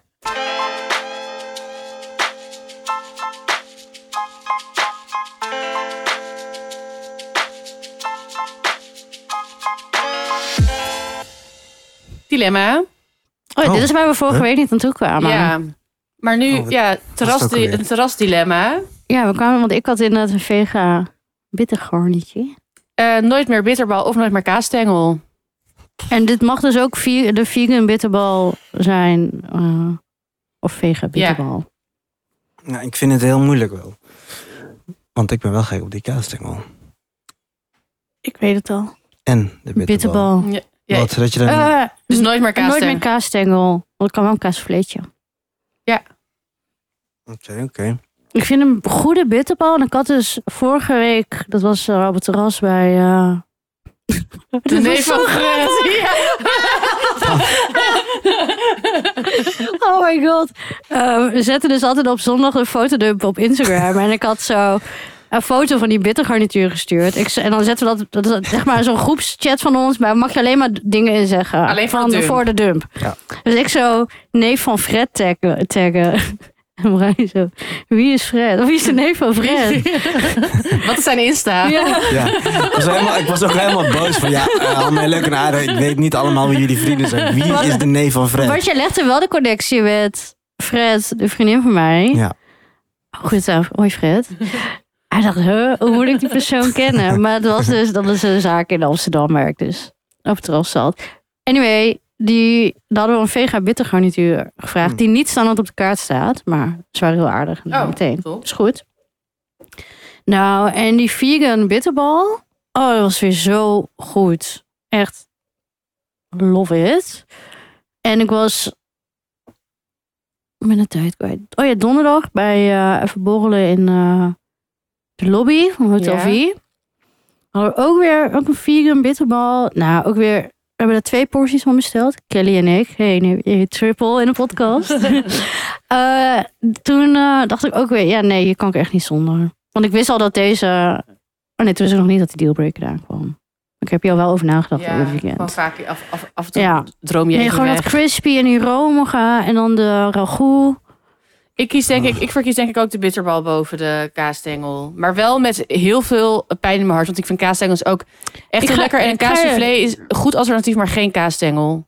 S2: Dilemma.
S1: Oh,
S3: Oh.
S1: dit is waar we vorige
S3: Huh?
S1: week niet aan toe kwamen.
S2: ja. Maar nu,
S3: Oh, wat-
S2: ja, terras,
S3: ook alweer?
S2: een terrasdilemma.
S1: Ja, we kwamen, want ik had inderdaad een vega bittergarnetje.
S2: Eh, nooit meer bitterbal of nooit meer kaasstengel.
S1: En dit mag dus ook vi- de vegan bitterbal zijn. eh, of vega bitterbal.
S3: Nou, ik vind het heel moeilijk wel. Want ik ben wel gek op die kaasstengel.
S1: Ik weet het al.
S3: En de bitterbal.
S1: Bitterbal.
S2: Ja,
S3: Wat, dat je dan...
S1: Eh,
S2: dus nooit meer
S1: nooit
S2: kaasstengel.
S1: meer kaasstengel. Want ik kan wel een kaasvleetje.
S3: Oké, oké.
S1: Ik vind een goede bitterbal. En ik had dus vorige week, dat was eh, op het terras bij. eh,
S2: De
S1: Dat was
S2: neef van
S1: zo
S2: Gret. Ja.
S1: Oh Ehm, my god. Eh, we zetten dus altijd op zondag een fotodump op Instagram. En ik had zo een foto van die bittergarnituur gestuurd. Ik, ze- en dan zetten we dat, dat, dat- zeg maar, zo'n groepschat van ons. Maar mag je alleen maar dingen in zeggen.
S2: Alleen voor
S1: van
S2: de dump.
S1: voor de dump.
S3: Ja.
S1: Dus ik zo, neef van Fred taggen. taggen. En Brian zo, wie is Fred? Of wie is de neef van Fred?
S2: Wat is zijn Insta?
S1: Ja.
S3: Ja. Ik, was helemaal, ik was ook helemaal boos van ja, eh, allemaal leuk en aardig. Ik weet niet allemaal wie jullie vrienden zijn. Wie is de neef van
S1: Want
S3: Fred?
S1: je legde wel de connectie met Fred, de vriendin van mij.
S3: Ja.
S1: Oh, Goed zo, hoi Fred. Hij dacht, huh, hoe moet ik die persoon kennen? Maar het was dus dat is een zaak in Amsterdam waar ik dus op het terras zat. Anyway, die, daar hadden we een vega bitter garnituur gevraagd.
S3: Hmm.
S1: Die niet standaard op de kaart staat. Maar ze waren heel aardig. en
S2: Oh,
S1: meteen.
S2: tof.
S1: Is goed. Nou, en die vegan bitterbal. Oh, dat was weer zo goed. Echt. Love it. En ik was... Ik ben de tijd kwijt. Oh ja, donderdag bij eh even borrelen in eh, de lobby van Hotel
S2: Ja.
S1: V. Hadden we ook weer ook een vegan bitterbal. Nou, ook weer... We hebben er twee porties van besteld. Kelly en ik. Hey, nu je triple in de podcast. Eh, toen eh, dacht ik ook weer... Ja, nee, hier kan ik echt niet zonder. Want ik wist al dat deze... Oh nee, toen wist ik nog niet dat die dealbreaker eraan kwam. Ik heb hier al wel over nagedacht over het
S2: gewoon
S1: weekend.
S2: vaak af, af, af en toe
S1: Ja.
S2: droom je
S1: Nee,
S2: even
S1: gewoon dat
S2: weg.
S1: crispy en die romige en dan de ragout.
S2: Ik, kies denk ik, ik verkies denk ik ook de bitterbal boven de kaasstengel. Maar wel met heel veel pijn in mijn hart. Want ik vind kaasstengels ook echt
S1: Ik
S2: heel
S1: ga-
S2: lekker. En een
S1: ik ga-
S2: kaassoufflé is een goed alternatief, maar geen kaasstengel.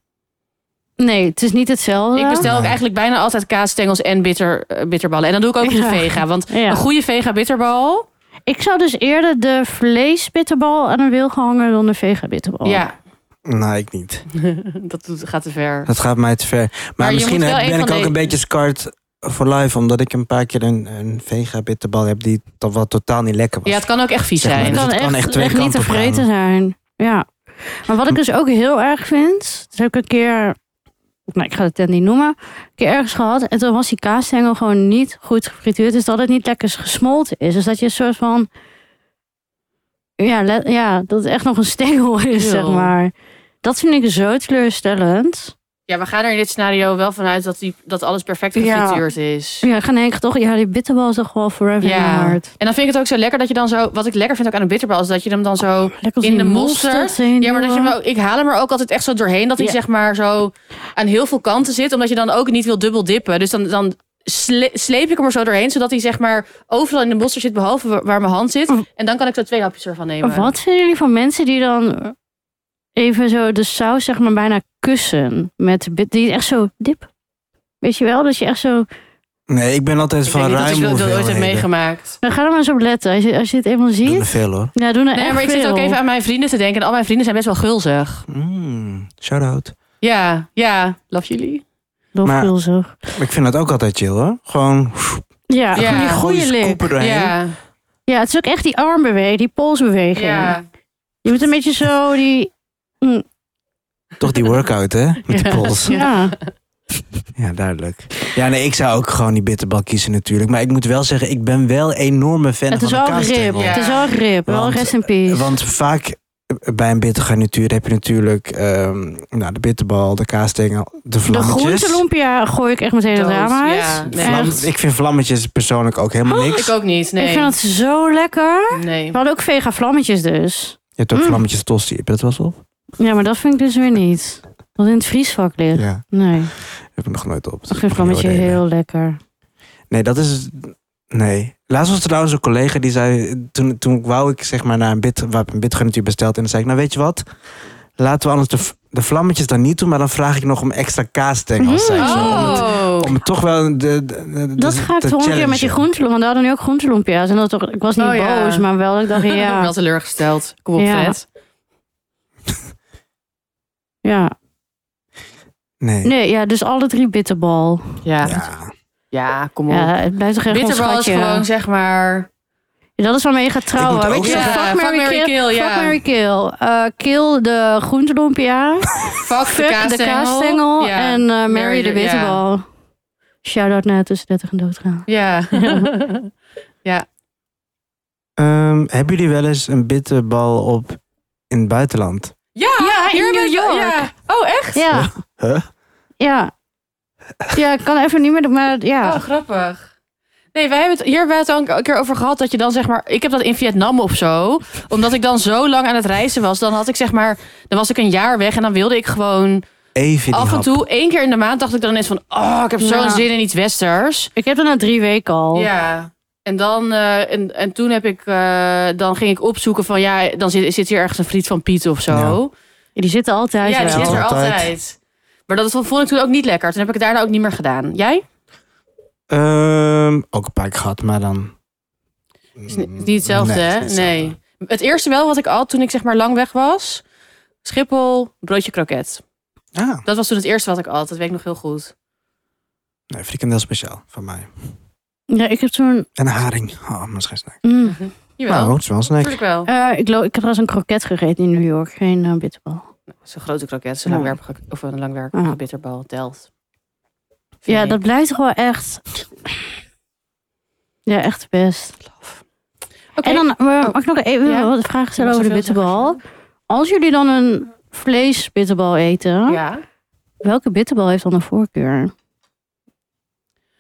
S1: Nee, het is niet hetzelfde.
S2: Ik bestel ook
S3: Ja.
S2: eigenlijk bijna altijd kaasstengels en bitter, eh, bitterballen. En dan doe ik ook de
S1: Ja.
S2: vega. Want
S1: Ja.
S2: een goede vega bitterbal...
S1: Ik zou dus eerder de vleesbitterbal aan een wilgen hangen dan de vega-bitterbal.
S2: Ja,
S3: Nou, ik niet.
S2: dat doet- gaat te ver.
S3: Dat gaat mij te ver. Maar,
S2: je
S3: misschien
S2: moet wel
S3: heb-
S2: een
S3: ben
S2: van
S3: ik ook
S2: de-
S3: een beetje scarred voor life. Omdat ik een paar keer een, een vega bitterbal heb die to- wat totaal niet lekker was.
S2: Ja, het kan ook echt vies
S3: Zeg maar,
S2: zijn.
S1: Het
S3: Dus
S1: kan,
S3: het
S1: echt,
S3: kan echt twee
S1: echt niet
S3: kanten
S1: te
S3: op gaan.
S1: vreten zijn. Ja. Maar wat ik dus ook heel erg vind, dat heb ik een keer, nou ik ga de tent niet noemen, een keer ergens gehad en toen was die kaasstengel gewoon niet goed gefrituurd, dus dat het niet lekker gesmolten is. Dus dat je een soort van, ja, le- ja dat het echt nog een stengel is,
S2: Ew.
S1: zeg maar. Dat vind ik zo teleurstellend.
S2: Ja, we gaan er in dit scenario wel vanuit dat, die, dat alles perfect
S1: Ja.
S2: gefrituurd is.
S1: Ja, gaan denk ik toch, ja, die bitterbal is toch wel forever in mijn hart.
S2: En dan vind ik het ook zo lekker dat je dan zo... Wat ik lekker vind ook aan een bitterbal is dat je hem dan zo...
S1: Lekker als
S2: In
S1: die
S2: de mosterd?
S1: in
S2: Ja, maar dat je hem
S1: doen.
S2: ook, ik haal hem er ook altijd echt zo doorheen. Dat hij
S1: Ja.
S2: zeg maar zo aan heel veel kanten zit. Omdat je dan ook niet wil dubbel dippen. Dus dan, dan sle- sleep ik hem er zo doorheen. Zodat hij zeg maar overal in de monster zit. Behalve wa- waar mijn hand zit. En dan kan ik zo twee hapjes ervan nemen.
S1: Wat vinden jullie van mensen die dan even zo de saus zeg maar bijna kussen met de bit die echt zo dip? Weet je wel, dat je echt zo...
S3: Nee, ik ben altijd
S2: Ik
S3: van
S2: denk niet dat ik dat
S3: ruim
S2: ooit heb
S3: hoeveelheden.
S2: meegemaakt.
S1: Dan ga er maar eens op letten. Als je, als je het eenmaal
S3: Ik doe er
S1: ziet.
S3: veel hoor.
S1: Ja, doen er
S2: Nee,
S1: echt
S2: maar ik zit
S1: veel.
S2: ook even aan mijn vrienden te denken. En al mijn vrienden zijn best wel gulzig.
S3: Mm, shout out.
S2: Ja, ja. Love jullie.
S1: Nog
S3: maar-
S1: veel zo.
S3: Maar ik vind dat ook altijd chill hoor. Gewoon pff,
S1: Ja,
S2: Ja.
S1: gewoon die goede
S3: goeie
S1: lik.
S3: scoop er doorheen.
S2: Ja,
S1: Ja, het is ook echt die armbeweging, die polsbeweging.
S2: ja.
S1: Je moet een beetje zo die...
S3: Toch die workout hè? Met die
S2: Ja.
S3: pols.
S1: Ja.
S3: Ja, duidelijk. Ja, nee, ik zou ook gewoon die bitterbal kiezen natuurlijk. Maar ik moet wel zeggen, ik ben wel een enorme fan
S1: Het is
S3: van
S1: wel
S3: de
S1: een rib.
S3: kaasstengel.
S2: Ja.
S1: Het is wel een rib. Wel
S3: Want-
S1: rest in peace.
S3: Want vaak eh, bij een bittergarnituur heb je natuurlijk ehm, nou, de bitterbal, de kaasstengel, de
S1: de
S3: vlammetjes.
S1: groente lumpia gooi ik echt meteen het
S2: Dood,
S1: raam uit.
S2: ja. Nee.
S3: Vlam-
S1: Echt.
S3: Ik vind vlammetjes persoonlijk ook helemaal niks.
S2: Ik ook niet. Nee.
S1: Ik vind dat zo lekker.
S2: Nee.
S1: We hadden ook vega vlammetjes dus.
S3: Je hebt ook
S1: Mm.
S3: vlammetjes tosti, heb je dat wel eens op?
S1: Ja, maar dat vind ik dus weer niet. Wat in het vriesvak ligt.
S3: Ja,
S1: Nee,
S3: heb ik nog nooit op.
S1: ik
S3: Dus mag
S1: vind
S3: niet
S1: vlammetje
S3: oordelen.
S1: heel lekker.
S3: Nee, dat is... Nee. Laatst was er trouwens een collega die zei... Toen, toen wou ik zeg maar naar een bit... Waar een bitgarnituur besteld. En dan zei ik, nou weet je wat? Laten we anders de, v- de vlammetjes dan niet doen. Maar dan vraag ik nog om extra kaasstengels. zei ze. Om, het,
S2: Mhm. Oh.
S3: om het toch wel de, de, de-
S1: Dat
S3: de-
S1: ga ik
S3: te
S1: de volgende keer met die
S3: challengen.
S1: groentelompia. Want we hadden nu ook groentelompia's. En dat toch, ik was niet
S2: Oh, ja.
S1: boos, maar wel. Ik dacht,
S2: Ik ben wel
S1: ja.
S2: teleurgesteld. Kom op,
S1: Ja.
S2: Fred.
S1: ja.
S3: Nee.
S1: Nee, ja, dus alle drie bitterbal.
S2: Ja. ja.
S3: Ja.
S2: kom op.
S1: Ja, het blijft toch echt ons
S2: Bitterbal is
S1: schatje.
S2: gewoon zeg maar.
S1: Ja, dat is waarmee je gaat trouwen.
S3: Ik moet
S1: Weet je,
S3: ook-
S1: zo,
S2: Ja,
S1: fuck, Mary, kill.
S2: ja.
S1: Fuck, Mary, kill. Eh, kill de groentelompia.
S2: Fuck,
S1: Fuck de kaasstengel.
S2: Ja.
S1: En eh, Mary, de
S2: Mary de- ja.
S1: bitterbal. Shout-out naar tussen 30 en doodgaan.
S2: Ja.
S3: Ehm, hebben jullie wel eens een bitterbal op in het buitenland?
S2: ja,
S1: Ja, in
S2: hier
S1: New
S2: ben-
S1: York.
S2: ja. Oh, echt?
S1: Ja.
S3: Huh?
S1: Ja. Ja, ik kan even niet meer, maar ja.
S2: Oh, grappig. Nee, wij hebben het hier wel al een keer over gehad. Dat je dan zeg maar. Ik heb dat in Vietnam of zo. Omdat ik dan zo lang aan het reizen was. Dan had ik zeg maar. Dan was ik een jaar weg en dan wilde ik gewoon.
S3: Even die
S2: af en
S3: hap.
S2: toe, één keer in de maand, dacht ik dan eens van. Oh, ik heb zo'n
S1: Ja.
S2: zin in iets westers.
S1: Ik heb dat na drie weken
S3: Oh.
S1: al.
S2: Ja. En, dan, eh, en, en toen heb ik, eh, dan ging ik opzoeken van ja, dan zit, zit hier ergens een friet van Piet of zo.
S3: Ja.
S1: Ja, die zitten altijd
S2: Ja, die
S1: wel.
S2: zit er
S3: Altijd.
S2: altijd. Maar dat vond ik toen ook niet lekker. Toen heb ik het daarna ook niet meer gedaan. Jij?
S3: Ehm, ook een paar keer gehad, maar dan...
S2: Is ni- is niet hetzelfde,
S3: Nee, is
S2: hè?
S3: niet hetzelfde.
S2: Nee. Het eerste wel wat ik al toen ik zeg maar lang weg was. Schiphol, broodje kroket.
S3: Ah,
S2: Dat was toen het eerste wat ik al. Dat weet ik nog heel goed.
S3: nee, frikandel speciaal van mij.
S1: Ja, ik heb toen...
S3: En een haring. Oh, misschien snack.
S1: Mm.
S2: Jawel,
S3: Nou, het is wel een snack.
S2: natuurlijk wel.
S1: Eh, ik, lo- ik heb trouwens een kroket gegeten in New York. Geen eh, bitterbal.
S2: Zo'n grote kroket, zo'n
S1: Ja.
S2: langwerpige, of een langwerpige
S1: Ja.
S2: bitterbal, telt.
S1: Ja,
S2: Vind
S1: dat
S2: ik.
S1: blijft toch wel echt... Ja, echt best.
S2: Oké. Oh.
S1: En dan eh, mag ik nog even
S2: Ja.
S1: wat vragen stellen
S2: Je mag
S1: over de
S2: zoveel zeggen,
S1: bitterbal. Als jullie dan een vleesbitterbal eten,
S2: Ja.
S1: welke bitterbal heeft dan een voorkeur?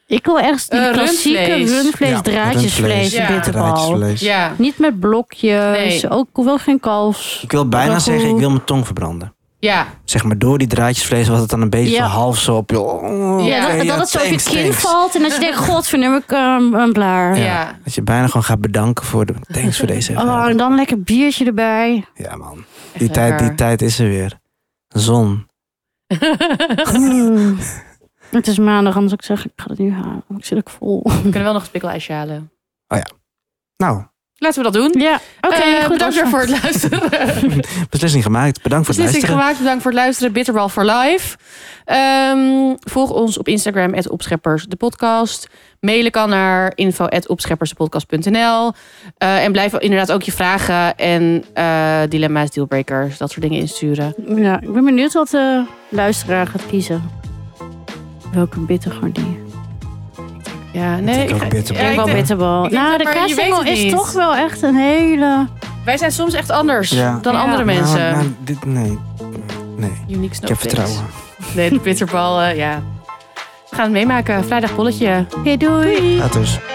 S1: Ik wil echt die
S2: Eh,
S1: klassieke
S2: rundvlees.
S1: rundvlees,
S3: Ja,
S1: draadjesvlees
S3: rundvlees,
S2: Ja.
S1: bitterbal.
S3: Draadjesvlees.
S2: Ja.
S1: Niet met blokjes,
S2: Nee.
S1: ook wel geen kalfs.
S3: Ik wil bijna
S1: Ragout.
S3: zeggen, ik wil mijn tong verbranden.
S2: Ja.
S3: Zeg maar, door die draadjesvlees was het dan een beetje
S1: Ja.
S3: zo half zo op je... Oh,
S1: Ja,
S3: oké,
S1: dat, dat het zo op je
S3: thanks,
S1: kin
S3: thanks.
S1: valt en dat je denkt, god, verneem ik ehm, een blaar.
S2: Ja.
S3: Dat je bijna gewoon gaat bedanken voor de... Thanks voor deze
S1: Oh, en
S3: ervaring.
S1: dan lekker biertje erbij.
S3: Ja, man. Die
S2: Echt
S3: tijd, die
S2: lekker.
S3: tijd is er weer. Zon.
S1: Mm. Het is maandag, anders ik zeg ik ga het nu halen. want Ik zit ook vol.
S2: We kunnen wel nog een spikkelijsje halen.
S3: Nou,
S2: Laten we dat doen.
S1: Ja, oké.
S2: Eh,
S1: goed,
S2: bedankt weer voor het luisteren.
S3: beslissing gemaakt. Bedankt voor
S2: Beslissing
S3: het luisteren.
S2: gemaakt. Bedankt voor het luisteren. Bitterbal for life. Ehm, volg ons op Instagram, het Opscheppers, de podcast. Mailen kan naar info opscheppersdepodcast.nl. Eh, en blijf inderdaad ook je vragen en eh, dilemma's, dealbreakers, dat soort dingen insturen.
S1: Ja, ik ben benieuwd wat de luisteraar gaat kiezen. Welke bittergordie?
S2: Ja,
S3: Ik
S2: nee.
S3: denk ook
S2: ga-
S3: bitterbal.
S2: Ja,
S1: Ik
S2: ik
S1: wel
S2: denk-
S1: bitterbal.
S2: ik denk
S1: Nou,
S2: dat-
S1: de
S2: maar je weet
S1: kaasengel
S2: het
S1: is
S2: niet.
S1: toch wel echt een hele...
S2: wij zijn soms echt anders
S3: Ja.
S2: dan
S1: Ja.
S2: andere
S3: Nou,
S2: mensen.
S3: nou, dit, nee. Nee.
S2: Unique
S3: Ik heb
S2: snowflakes.
S3: vertrouwen.
S2: Nee, de bitterbal, eh, ja. We gaan het meemaken. Vrijdag bolletje.
S1: Oké, doei.
S3: Laat dus.